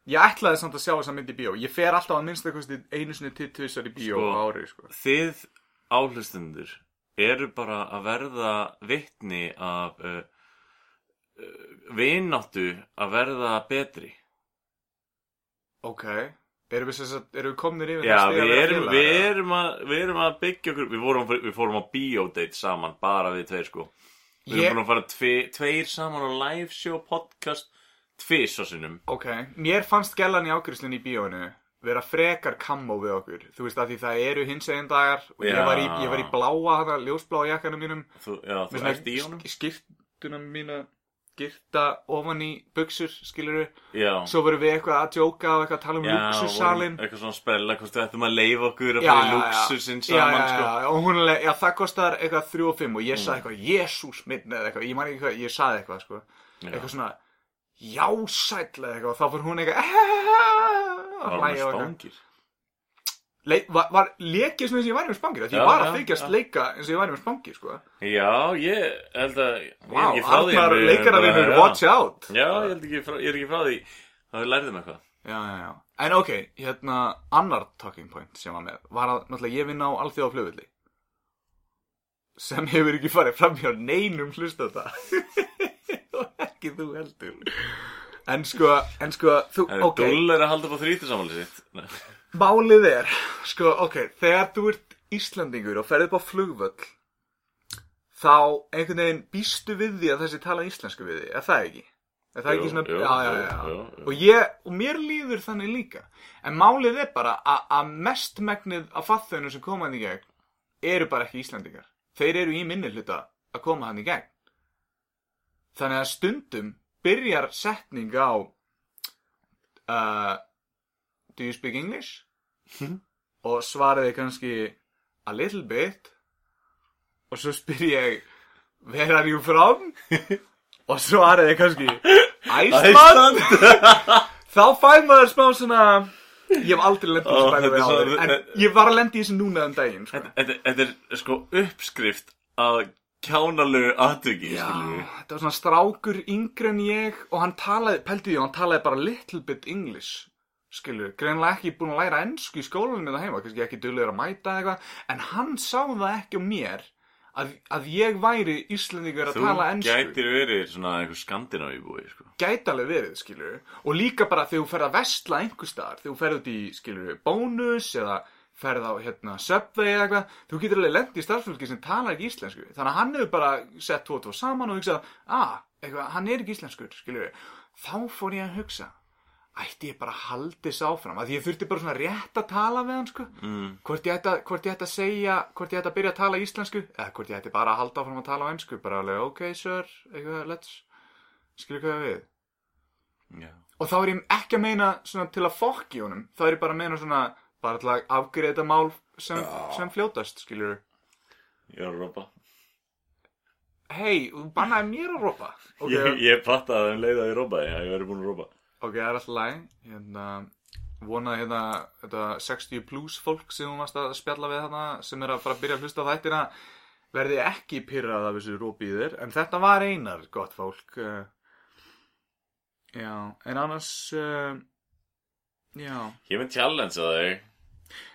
Speaker 2: Ég ætlaði samt að sjá þess að myndi í bíó Ég fer alltaf að minnsta kosti einu sinni til tvisar í bíó
Speaker 1: Sko.
Speaker 2: á ári sko.
Speaker 1: þið áhlustundur eru bara að verða vitni af uh, uh, vináttu að verða betri
Speaker 2: Ok, erum við, sem sagt, erum við komnir yfir
Speaker 1: Já,
Speaker 2: það stig að
Speaker 1: við
Speaker 2: vera
Speaker 1: erum,
Speaker 2: félagar,
Speaker 1: við,
Speaker 2: eða?
Speaker 1: erum að, við erum að byggja okkur Við fórum, við fórum á biodate saman bara við tveir sko Við
Speaker 2: Ég-
Speaker 1: erum búin að fara tve, tveir saman á live show podcast tvis á sinnum
Speaker 2: Ok, mér fannst gellan í ákrislinni í bíóinu vera frekar kammo við okkur Þú veist að því það eru hins einn dagar og ég
Speaker 1: Já.
Speaker 2: var, í, ég var í bláa, hana, ljósbláa jakkanum mínum
Speaker 1: Þú, já, þú
Speaker 2: Með
Speaker 1: ert í
Speaker 2: svona
Speaker 1: honum
Speaker 2: sk- skyrtuna mína skyrta ofan í buksur skiluru,
Speaker 1: Já,
Speaker 2: svo vorum við eitthvað að djóka og eitthvað að tala um
Speaker 1: já
Speaker 2: luxussalinn
Speaker 1: vorum eitthvað svona spella Hvort við ættum að leifa okkur að
Speaker 2: Já,
Speaker 1: fara í
Speaker 2: já, já.
Speaker 1: luxusinn
Speaker 2: Já,
Speaker 1: saman
Speaker 2: já,
Speaker 1: sko
Speaker 2: já, og hún er leið, já, það kostar eitthvað 3 og 5 og
Speaker 1: Mm.
Speaker 2: ég saði eitthvað, jesús minn eða eitthvað, ég man ekki hvað, ég saði eitthvað, sko eitthvað svona, já, sæll eða eitthvað, og þá fór hún eitthvað að
Speaker 1: Varum við
Speaker 2: hlæja og eitthvað
Speaker 1: stangir
Speaker 2: Leik- var, var lekið svona eins og ég væri með spangir af því
Speaker 1: Já,
Speaker 2: ég var
Speaker 1: já,
Speaker 2: að þykjast
Speaker 1: já.
Speaker 2: leika eins og ég væri með spangir, sko
Speaker 1: Já, ég held að ég
Speaker 2: Vá,
Speaker 1: er ekki frá því en
Speaker 2: Arnar
Speaker 1: við-
Speaker 2: leikaravinur,
Speaker 1: bara-
Speaker 2: watch out
Speaker 1: Já, ég, held ekki frá, ég er ekki frá því að við lærðum eitthvað
Speaker 2: já, já, já. En ok, hérna annar talking point sem var með var að náttúrulega ég vinna á alþjóða flugulli sem hefur ekki farið fram hjá neinum hlusta [laughs] og ekki þú heldur En sko, en sko, þú,
Speaker 1: Er
Speaker 2: ok
Speaker 1: okay. dúll er að halda upp á þrítisamali sitt? Nei.
Speaker 2: Málið er, sko, ok, þegar þú ert Íslandingur og ferð upp á flugvöll, þá einhvern veginn býstu við því að þessi tala íslensku við því, er það ekki? Er það
Speaker 1: Jú,
Speaker 2: ekki svona,
Speaker 1: jú,
Speaker 2: já, já,
Speaker 1: jú,
Speaker 2: já, já.
Speaker 1: jú, jú.
Speaker 2: Og, ég, og mér líður þannig líka. En málið er bara að- að mestmegnið af fattöðunum sem koma hann í gegn eru bara ekki Íslandingar. Þeir eru í minni hluta að koma hann í gegn. Þannig að stundum byrjar setning á uh, Do you speak English? og svaraði kannski a little bit og svo spyr ég where are you from? og svaraði kannski Æsland þá fær maður smá svona ég hef aldrei lendið
Speaker 1: Ó,
Speaker 2: þessu
Speaker 1: þetta
Speaker 2: bæði
Speaker 1: er
Speaker 2: við áður
Speaker 1: svo-
Speaker 2: en ég var að lendi í þessu núna um daginn sko.
Speaker 1: [laughs] Þetta þetta er sko uppskrift að kjánalegu atviki,
Speaker 2: Já,
Speaker 1: skiljum við.
Speaker 2: þetta var svona strákur yngri en ég og hann talaði, pældi því, hann talaði bara little bit English, skilur, greinlega ekki búin að læra ennsku í skólanum eða heima, kannski ekki duglegur að mæta eða eitthvað, en hann sá það ekki á mér að, að ég væri Íslendingur að
Speaker 1: Þú
Speaker 2: tala ennsku.
Speaker 1: gætir verið svona einhver skandinavi búi, sko.
Speaker 2: Gæti alveg verið, skilur, og líka bara þegar þú ferð að vestla einhver staðar, þegar þú ferð út í, skilur, bónus eða ferð á, hérna, söpvei eða eitthvað, þú getur alveg lent í starfsfólki sem talar ekki íslensku, þannig að hann hefur bara sett tvo og tvo saman og hugsað, að, eitthvað, hann er ekki íslenskur, skilur, þá fór ég að hugsa, ætti ég bara að haldi þess áfram, að ég þurfti bara svona rétt að tala við hann, sko,
Speaker 1: Mm.
Speaker 2: hvort ég ætti að, hvort ég ætti að segja, hvort ég ætti að byrja að tala íslensku, eða hvort ég ætti bara að halda áfram að tala á ennsku, bara alveg, ok, sir, eitthvað, let's, skilur hvað ég á við.
Speaker 1: Já.
Speaker 2: Og þá er ég ekki að meina svona til að fokki honum, þá er ég bara að meina svona bara til að afgriða þetta mál sem, sem fljótast, skiljur.
Speaker 1: Ég var að ropa.
Speaker 2: Hei, þú bannaði mér að ropa. Ok,
Speaker 1: Ég, ég fattaði um leiðaði ropa, já, ég verið búin að ropa.
Speaker 2: ok, það er alltaf læg. Hérna, vonaði hérna þetta 60 plus fólk sem hún varst að spjalla við þarna sem er að fara að byrja að hlusta á þættina verði ekki pyrrað af þessu ropi í þér. En þetta var einar gott fólk. eh. Já, en annars, eh, já.
Speaker 1: Ég mynd challenge að þau.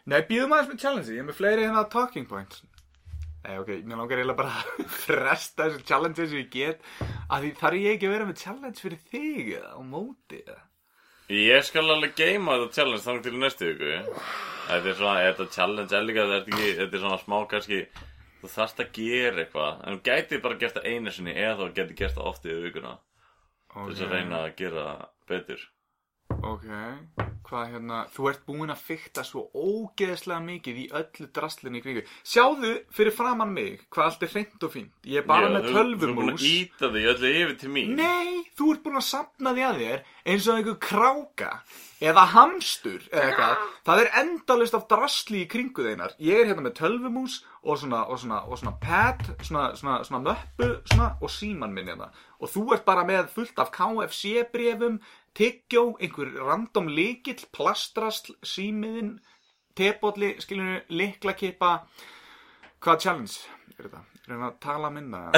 Speaker 2: Nei, býðum aðeins með challenge, ég er með fleiri hérna talking points. Nei, ok, mér langar eiginlega bara [laughs] að fresta þessu challenge sem ég get að því þarf ég ekki að vera með challenge fyrir þig eða á móti eða.
Speaker 1: Ég skal alveg geima þetta challenge þannig til í næstu viku. Þetta er svona, þetta challenge er líka, þetta er, ekki, þetta er svona smá kannski, þú þarft að gera eitthvað. En þú gæti bara gert það einu sinni eða þú gæti gert það oft í vikuna. Til þess að reyna að gera það betur.
Speaker 2: Ok, hvað hérna, þú ert búin að fykta svo ógeðslega mikið í öllu draslinni í kringu. Sjáðu fyrir framann mig hvað allt er hreint og fínt. Ég er bara
Speaker 1: Já,
Speaker 2: með
Speaker 1: þú- Þú er búin
Speaker 2: tölvumús.
Speaker 1: að íta því öllu yfir til mín.
Speaker 2: Nei, þú ert búin að sapna því að þér eins og einhver kráka eða hamstur eða eitthvað. Það er endalist af drasli í kringu þeinar. Ég er hérna með tölvumús og svona, og svona, og svona pad, svona, svona, svona möppu svona, og síman minn hérna. Og þú ert bara með fullt af KFC-brefum, tyggjó, einhver random líkill, plastrasl, símiðin, tebóli, skiljunu, liklakipa. Hvaða challenge er þetta? Reyna að tala minna.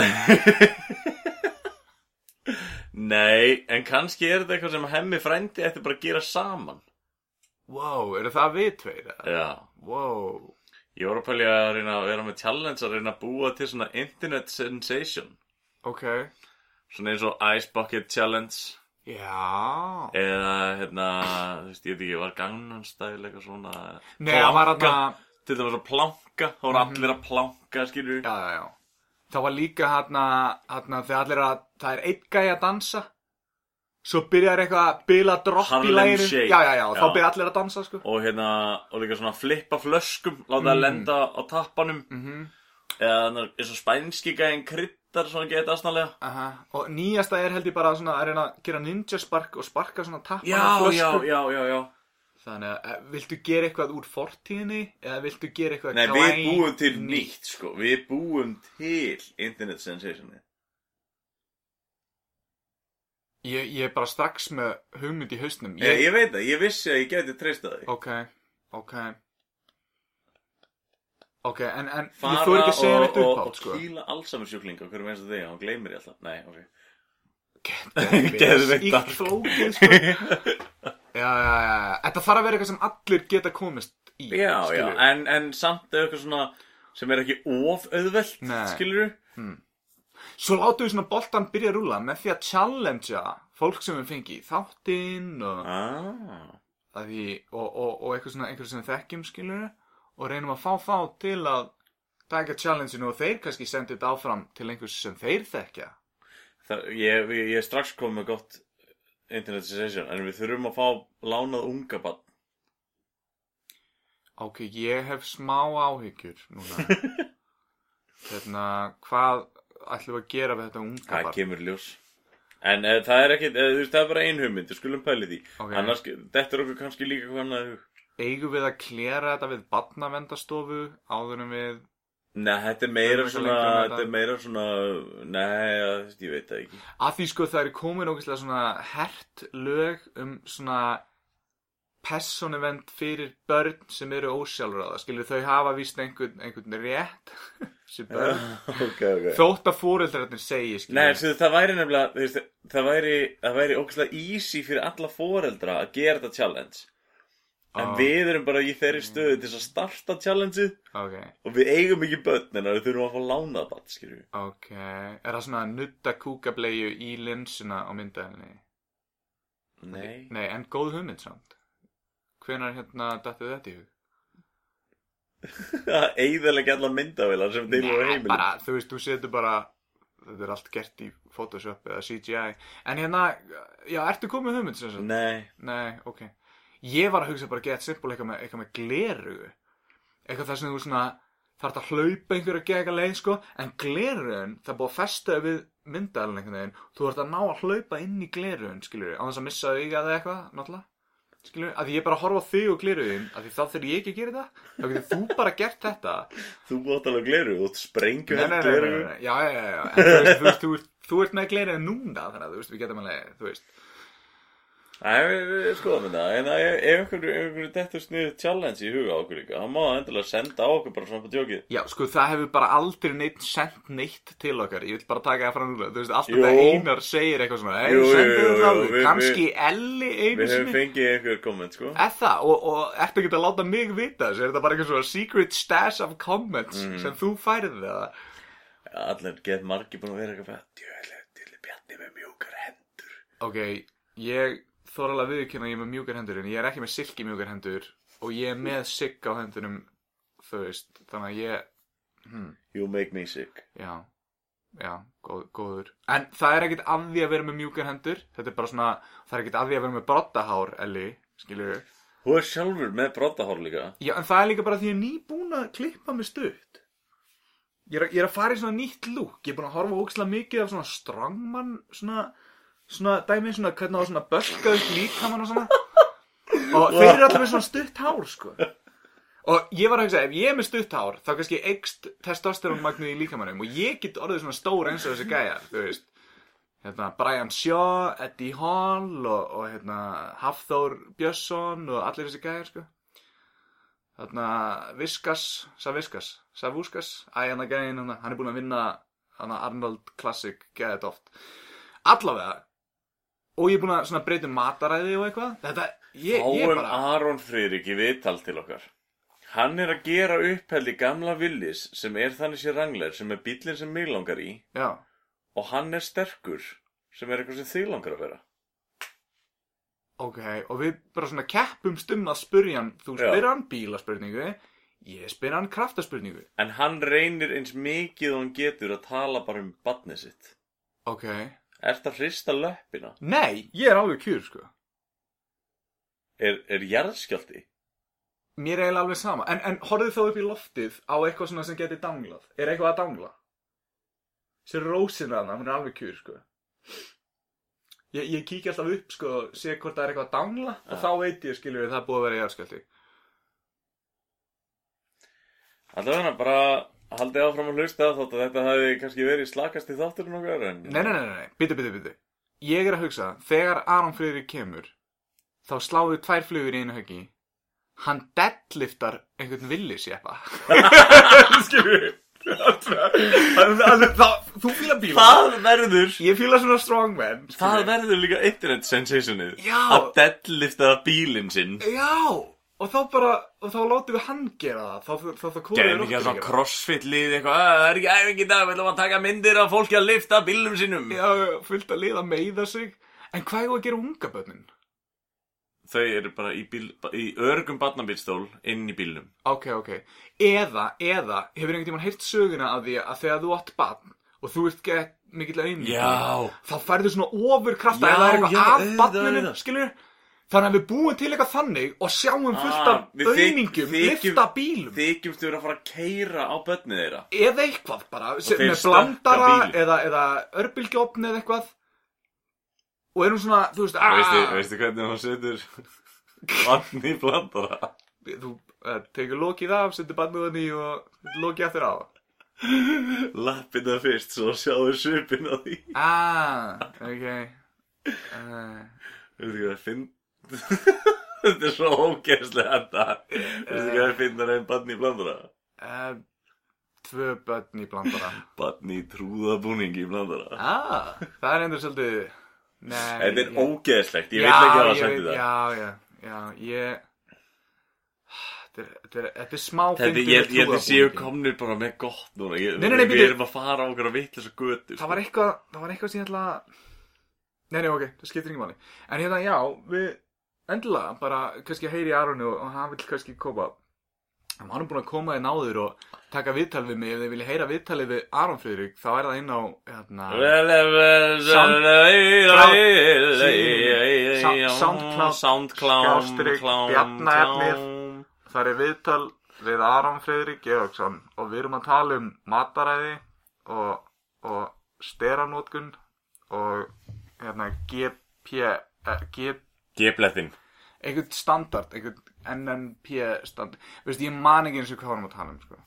Speaker 1: Nei, en kannski er þetta eitthvað sem hemmi frændi ætti bara að gera saman.
Speaker 2: wow, eru það við tveir eða?
Speaker 1: Já.
Speaker 2: Wow.
Speaker 1: Ég voru að pælja að reyna að vera með challenge að reyna að búa til svona internet sensation.
Speaker 2: Ok.
Speaker 1: Svona eins og Ice Bucket Challenge.
Speaker 2: Já.
Speaker 1: eða hérna, þú veist, ég veit ekki, var Gangnam Style eitthvað svona
Speaker 2: Nei, það var
Speaker 1: planka,
Speaker 2: aðna...
Speaker 1: til dæmis að planka, þá voru allir að planka, skilur
Speaker 2: Já, já, já. Það var líka hérna, hérna þegar allir að, það er einn gæi að dansa. Svo byrjar eitthvað að bila dropp í
Speaker 1: Harlem
Speaker 2: læginu.
Speaker 1: Shake.
Speaker 2: Já, já, já, þá
Speaker 1: Já.
Speaker 2: byrja allir að dansa, sko.
Speaker 1: og hérna, og líka svona flippa flöskum, láta það lenda á tappanum
Speaker 2: Mhm.
Speaker 1: eða þannig að eins og spænski gæðin kryddar svona geta aðsnalega
Speaker 2: Aha. Og nýjasta er held ég bara svona að reyna að gera ninja spark og sparka svona tappan
Speaker 1: Já, já,
Speaker 2: á flösku.
Speaker 1: já, já, já
Speaker 2: Þannig að, eh, viltu gera eitthvað úr fortíðinni eða viltu gera eitthvað
Speaker 1: Nei, við
Speaker 2: glæný?
Speaker 1: búum til nýtt, sko Við búum til internet sensationi
Speaker 2: Ég, ég er bara strax með hugmynd í hausnum.
Speaker 1: ég, ég veit það, ég vissi að ég geti treysta því
Speaker 2: Ok, ok Ok, en, en ég
Speaker 1: Fara
Speaker 2: þú ekki að segja
Speaker 1: og,
Speaker 2: neitt
Speaker 1: og,
Speaker 2: upp
Speaker 1: og
Speaker 2: átt, sko
Speaker 1: kýla Alzheimer-sjúkling og hverju meins að þig, hann gleymir ég alltaf Nei, ok
Speaker 2: Geðveikt
Speaker 1: Geðveikt
Speaker 2: dark
Speaker 1: dark.
Speaker 2: Íkt flókið, sko Já, [laughs] já, já, já, já. Þetta þarf að vera eitthvað sem allir geta komist í
Speaker 1: Já,
Speaker 2: skilurðu.
Speaker 1: já, en, en samt er eitthvað svona sem er ekki of auðvelt,
Speaker 2: Nei.
Speaker 1: skilur du?
Speaker 2: Svo látum við svona boltan byrja að rúla með því að challengea fólk sem við fengi í þáttinn og,
Speaker 1: Ah.
Speaker 2: að því, og, og, og eitthvað svona einhverjum sem við þekkjum skilur og reynum að fá þá til að taka challengeinu og þeir kannski sendi þetta áfram til einhvers sem þeir þekkja.
Speaker 1: Það, ég, ég, ég er strax komið með gott internetisation, en við þurfum að fá lánað unga bann.
Speaker 2: Ok, ég hef smá áhyggjur núna.
Speaker 1: [laughs]
Speaker 2: hérna, hvað ætlum við að gera við þetta unga
Speaker 1: Það
Speaker 2: barn?
Speaker 1: kemur ljós. En e, það er ekki, e, þú veist, það er bara ein hugmynd, við skulum pæli því.
Speaker 2: Ok.
Speaker 1: Annars, þetta er okkur kannski líka hvað annað í hug.
Speaker 2: Eigum við að klera þetta við barnavendastofu áður en við...
Speaker 1: Nei, þetta er
Speaker 2: Förum
Speaker 1: meira
Speaker 2: eitthvað
Speaker 1: svona,
Speaker 2: lengra með
Speaker 1: þetta er
Speaker 2: þetta.
Speaker 1: meira svona, nei, ja, þú veist, ég veit það ekki.
Speaker 2: Að því sko það er komin ógeðslega svona hert lög um svona personevend fyrir börn sem eru ósjálfráða. Skilur þau hafa víst einhvern, einhvern rétt [laughs] sem börn.
Speaker 1: [laughs] ok, ok.
Speaker 2: Þótt að fóreldrarnir segi, skilur.
Speaker 1: Ah. Nei, þessi, það væri nefnilega, þú veist, það væri, það væri ógæslega easy fyrir alla foreldra að gera þetta challenge. En
Speaker 2: Ó.
Speaker 1: við erum bara í þeirri
Speaker 2: Mm.
Speaker 1: stöðu til þess að starta challengeið
Speaker 2: Ok,
Speaker 1: og við eigum ekki börn en við þurfum að fá lánað bann, skiljum við.
Speaker 2: ok. Er það svona að nutta kúkableiu í linsuna á myndaðinni?
Speaker 1: Nei. [laughs]
Speaker 2: Nei, en góð hugmynd samt. Hvenar hérna dættu þetta í hug?
Speaker 1: Það eigðalega alla myndavélar sem til og
Speaker 2: Nei,
Speaker 1: heimil.
Speaker 2: bara, þú veist, þú setur bara þetta er allt gert í Photoshop eða CGI en hérna, já, ertu komið með hugmynd sem sagt?
Speaker 1: Nei.
Speaker 2: Nei, ok Ég var að hugsa bara að geta simple eitthvað með, eitthvað með gleru eitthvað þar sem þú svona þarf að hlaupa einhverja að eitthvað leið sko en glerun, það er búið að festa við myndalinn einhvern veginn þú ert að ná að hlaupa inn í glerun, skilur á þess að missa augað eða eitthvað, náttúrulega skilur að því ég er bara að horfa á þig og gleruðin að því þá þegar ég ekki að gera þetta þá getur þú bara gert þetta
Speaker 1: Þú átt alveg gleru, þú átt sprengjum
Speaker 2: Nei, nei,
Speaker 1: hend
Speaker 2: nei, nei,
Speaker 1: gleru.
Speaker 2: nei, já, já, já, já, en þú veist, þú veist, þú ert, þú ert með glerin en núna, þannig að þú veist, við getum alveg, þú veist,
Speaker 1: Nei, við, við skoðum þetta, en það er- ef einhverju, ef einhverju dettur sniðu challenge í huga á okkur líka, hann má endilega senda á okkur bara svona på djókið.
Speaker 2: já, sko, það hefur bara aldrei neitt sendt neitt til okkar, ég vil bara taka það fram núna, þú veist, alltaf
Speaker 1: Jú.
Speaker 2: það einar segir eitthvað
Speaker 1: Jú,
Speaker 2: svona, ei,
Speaker 1: jú,
Speaker 2: sendu
Speaker 1: jú,
Speaker 2: það frá
Speaker 1: við-
Speaker 2: þig, kannski Elli
Speaker 1: Við
Speaker 2: einu
Speaker 1: höfum
Speaker 2: sinni,
Speaker 1: fengið einhver komment, sko.
Speaker 2: eða það, og, og ertu ekki að láta mig vita þessu, er þetta bara eitthvað svona secret stash of comments
Speaker 1: Mm.
Speaker 2: sem þú færið það,
Speaker 1: Allir get margir búin að vera eitthvað Djöðlega, djöðlega bjarni með mjúkar hendur
Speaker 2: ok, ég þóra alveg viðurkenna að ég er með mjúkar hendur, en ég er ekki með silki mjúkar hendur, og ég er með sigg á hendurum, þú veist, þannig að ég,
Speaker 1: You make me sick
Speaker 2: Já, já, góð, góður. En það er ekkert að því að vera með mjúkar hendur. Þetta er bara svona, það er ekkert að því að vera með brottahár, Elli, skilur við.
Speaker 1: Þú er sjálfur með brottahár líka
Speaker 2: Já, en það er líka bara því að ég er nýbúin að klippa mig stutt. Ég er, að- ég er að fara í svona nýtt lúk. Ég er búin að horfa ógislega mikið af svona strangmann, svona, svona dæmi, svona hvernig á svona bölkaðu líkamann og svona. Og þeir eru allir með svona stutt hár, sko. Og ég var að hugsa, ef ég er með stutt hár, þá kannski eikst testosteronmagnið í líkamannum og ég get orðið svona stór eins og þessi gæja, þú veist. Hérna, Brian Shaw, Eddie Hall og, og hérna, Hafþór Björnsson og allir þessi gæjar, sko. Þarna, Viskas, Saviskas, Savúskas, æ, hann að gæðin, hann hann er búin að vinna, hann að Arnold Classic, gæði þetta oft. Allavega, og ég er búin að svona breyta um mataræði og eitthvað, þetta, ég, ég
Speaker 1: Háum
Speaker 2: bara...
Speaker 1: Aron Friðrik í viðtal til okkar Hann er að gera uppheld í gamla villis sem er þannig sér rangler sem er bíllinn sem mig langar í
Speaker 2: Já,
Speaker 1: og hann er sterkur sem er eitthvað sem þig langar að vera
Speaker 2: Ok, og við bara svona keppumst um að spyrja hann, þú
Speaker 1: Já.
Speaker 2: spyr hann bílaspurningu, ég spyr hann kraftaspurningu.
Speaker 1: En hann reynir eins mikið og hann getur að tala bara um badnið sitt
Speaker 2: Ok.
Speaker 1: Ert að hrista löppina?
Speaker 2: Nei, ég er alveg kjur, sko.
Speaker 1: Er, er jarðskjálti?
Speaker 2: Mér er eiginlega alveg sama. En, en horfðu þá upp í loftið á eitthvað svona sem geti danglað. Er eitthvað að dangla? Sér rósin að það, hún er alveg kjur, sko. Ég, ég kíkja alltaf upp, sko, sé hvort það er eitthvað að dangla og
Speaker 1: Já.
Speaker 2: þá veit ég, skilur við, það er búið að vera í jarðskjöldi.
Speaker 1: Alltaf hérna bara haldið áfram að hlusta þótt að þetta hafi kannski verið slakast í þátturinn okkar en...
Speaker 2: Nei, nei, nei, nei, nei, bitu, bitu, bitu Ég er að hugsa, þegar Aron Friðrik kemur þá sláðu tvær flugur í einu höggi hann deadliftar
Speaker 1: [laughs]
Speaker 2: [laughs] einhvern villisjeppa Skilur við? Þá, þú fíla bíla
Speaker 1: Það verður
Speaker 2: Ég fíla svona strongman
Speaker 1: Það
Speaker 2: skilur.
Speaker 1: verður líka internet sensationið
Speaker 2: Já.
Speaker 1: Að deadlifta bílinn sinn
Speaker 2: Já, og þá bara og þá látum við hann gera það þá, þá, þá kúrið
Speaker 1: Gerðum ekki að svona crossfit lið eitthvað "Ah, Það er ekki æfing í dag, við ætlum að taka myndir af fólki að lifta bílum sínum
Speaker 2: Já, fullt að liða meiða sig En hvað er að gera um unga bönnin?
Speaker 1: Þau eru bara í, bíl, í örgum barnabílstól inn í bílnum
Speaker 2: Ok, ok Eða, eða, hefur einhvern tímann heyrt söguna af því að þegar þú átt barn og þú ert gett mikill auðvitað
Speaker 1: Já.
Speaker 2: Þá færðu svona ofurkrafta
Speaker 1: Já,
Speaker 2: eða það er
Speaker 1: já,
Speaker 2: eitthvað af
Speaker 1: auðvitað,
Speaker 2: barninu,
Speaker 1: auðvitað.
Speaker 2: skilur Þannig að við búum til eitthvað þannig og sjáum fullt
Speaker 1: Ah,
Speaker 2: af
Speaker 1: við þyk-
Speaker 2: auðningum,
Speaker 1: þykjum-
Speaker 2: lifta bílum
Speaker 1: Þykjumst vera að fara að keira á börnið þeirra
Speaker 2: eða eitthvað bara sem,
Speaker 1: þeir
Speaker 2: með
Speaker 1: stökka
Speaker 2: blandara
Speaker 1: bílinn.
Speaker 2: eða, eða örbylgjófn eða eitthvað og erum svona, þú veist, "Ah, aaa
Speaker 1: veistu, veistu hvernig hann setur vatn í blandara
Speaker 2: þú eh, tekur lokið af, setur bannuðan í og lokið aftur á
Speaker 1: Lappina fyrst, svo sjáðu svipin á því
Speaker 2: aaa, ok uh,
Speaker 1: Veistu hvað það finn [laughs] Þetta er svo ógeðslega þetta Veistu hvað
Speaker 2: Eh.
Speaker 1: það finn að einn barn í blandara
Speaker 2: uh, tvö börn í blandara
Speaker 1: Barn í trúðabúningi í blandara
Speaker 2: aaa, það er endur svolítið nei,
Speaker 1: Þetta er
Speaker 2: ég-
Speaker 1: ógeðslegt, ég
Speaker 2: Já,
Speaker 1: veit ekki að það
Speaker 2: ég
Speaker 1: sendi
Speaker 2: veit-
Speaker 1: það
Speaker 2: já, já, já, ég Þetta er- þetta er- þetta er smá
Speaker 1: Þetta,
Speaker 2: fyndið
Speaker 1: ég ég held
Speaker 2: með
Speaker 1: að séu
Speaker 2: trúðarbúninginn.
Speaker 1: komnir bara með gott núna ég,
Speaker 2: Nei, nei, nei,
Speaker 1: Við
Speaker 2: bíddu.
Speaker 1: erum að fara á okkur að vitlega svo götu
Speaker 2: það var eitthvað, það var eitthvað sem ég ætla að Nei, nei, ok, það skiptir ekki máli En hérna, já, við endilega bara kannski heyri Aronu og og hann vill kannski koma En hann er búin að koma þér náður og taka viðtal við mig Ef þið vilja heyra viðtalið við Aron Friðrik þá er það inn á, hérna
Speaker 1: Soundcloud
Speaker 2: Skástrík,
Speaker 1: Soundcloud
Speaker 2: bjarnaefnið. Það er viðtal við Aron Friðrik Georgsson Og við erum að tala um mataræði og, og steranótkun Og hérna, GP, eh, GP
Speaker 1: Geplettin
Speaker 2: einhvern standard, einhvern NNP standard, veist ég man ekki eins og hvað varum að tala um sko.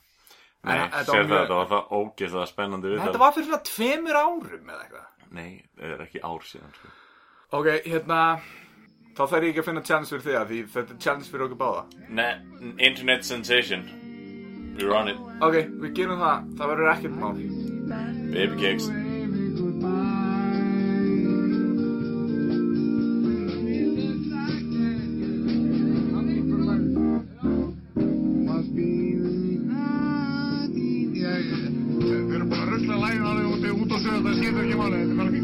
Speaker 1: Nei,
Speaker 2: En
Speaker 1: sér það,
Speaker 2: mjög-
Speaker 1: þetta var það ógeðslega spennandi við
Speaker 2: þetta var fyrir svona tveimur árum eða eitthvað.
Speaker 1: Nei, það er ekki ár síðan sko.
Speaker 2: Ok, hérna, þá þarf ég ekki að finna chance fyrir þig að því þetta er chance fyrir okkur báða.
Speaker 1: Nei, Internet Sensation You're on it,
Speaker 2: Ok, við gerum það, það verður ekkert mál.
Speaker 1: baby cakes
Speaker 3: Við erum bara að rusla lægin alveg út, út á söðu, það skiptir ekki máli, þetta er bara fínt.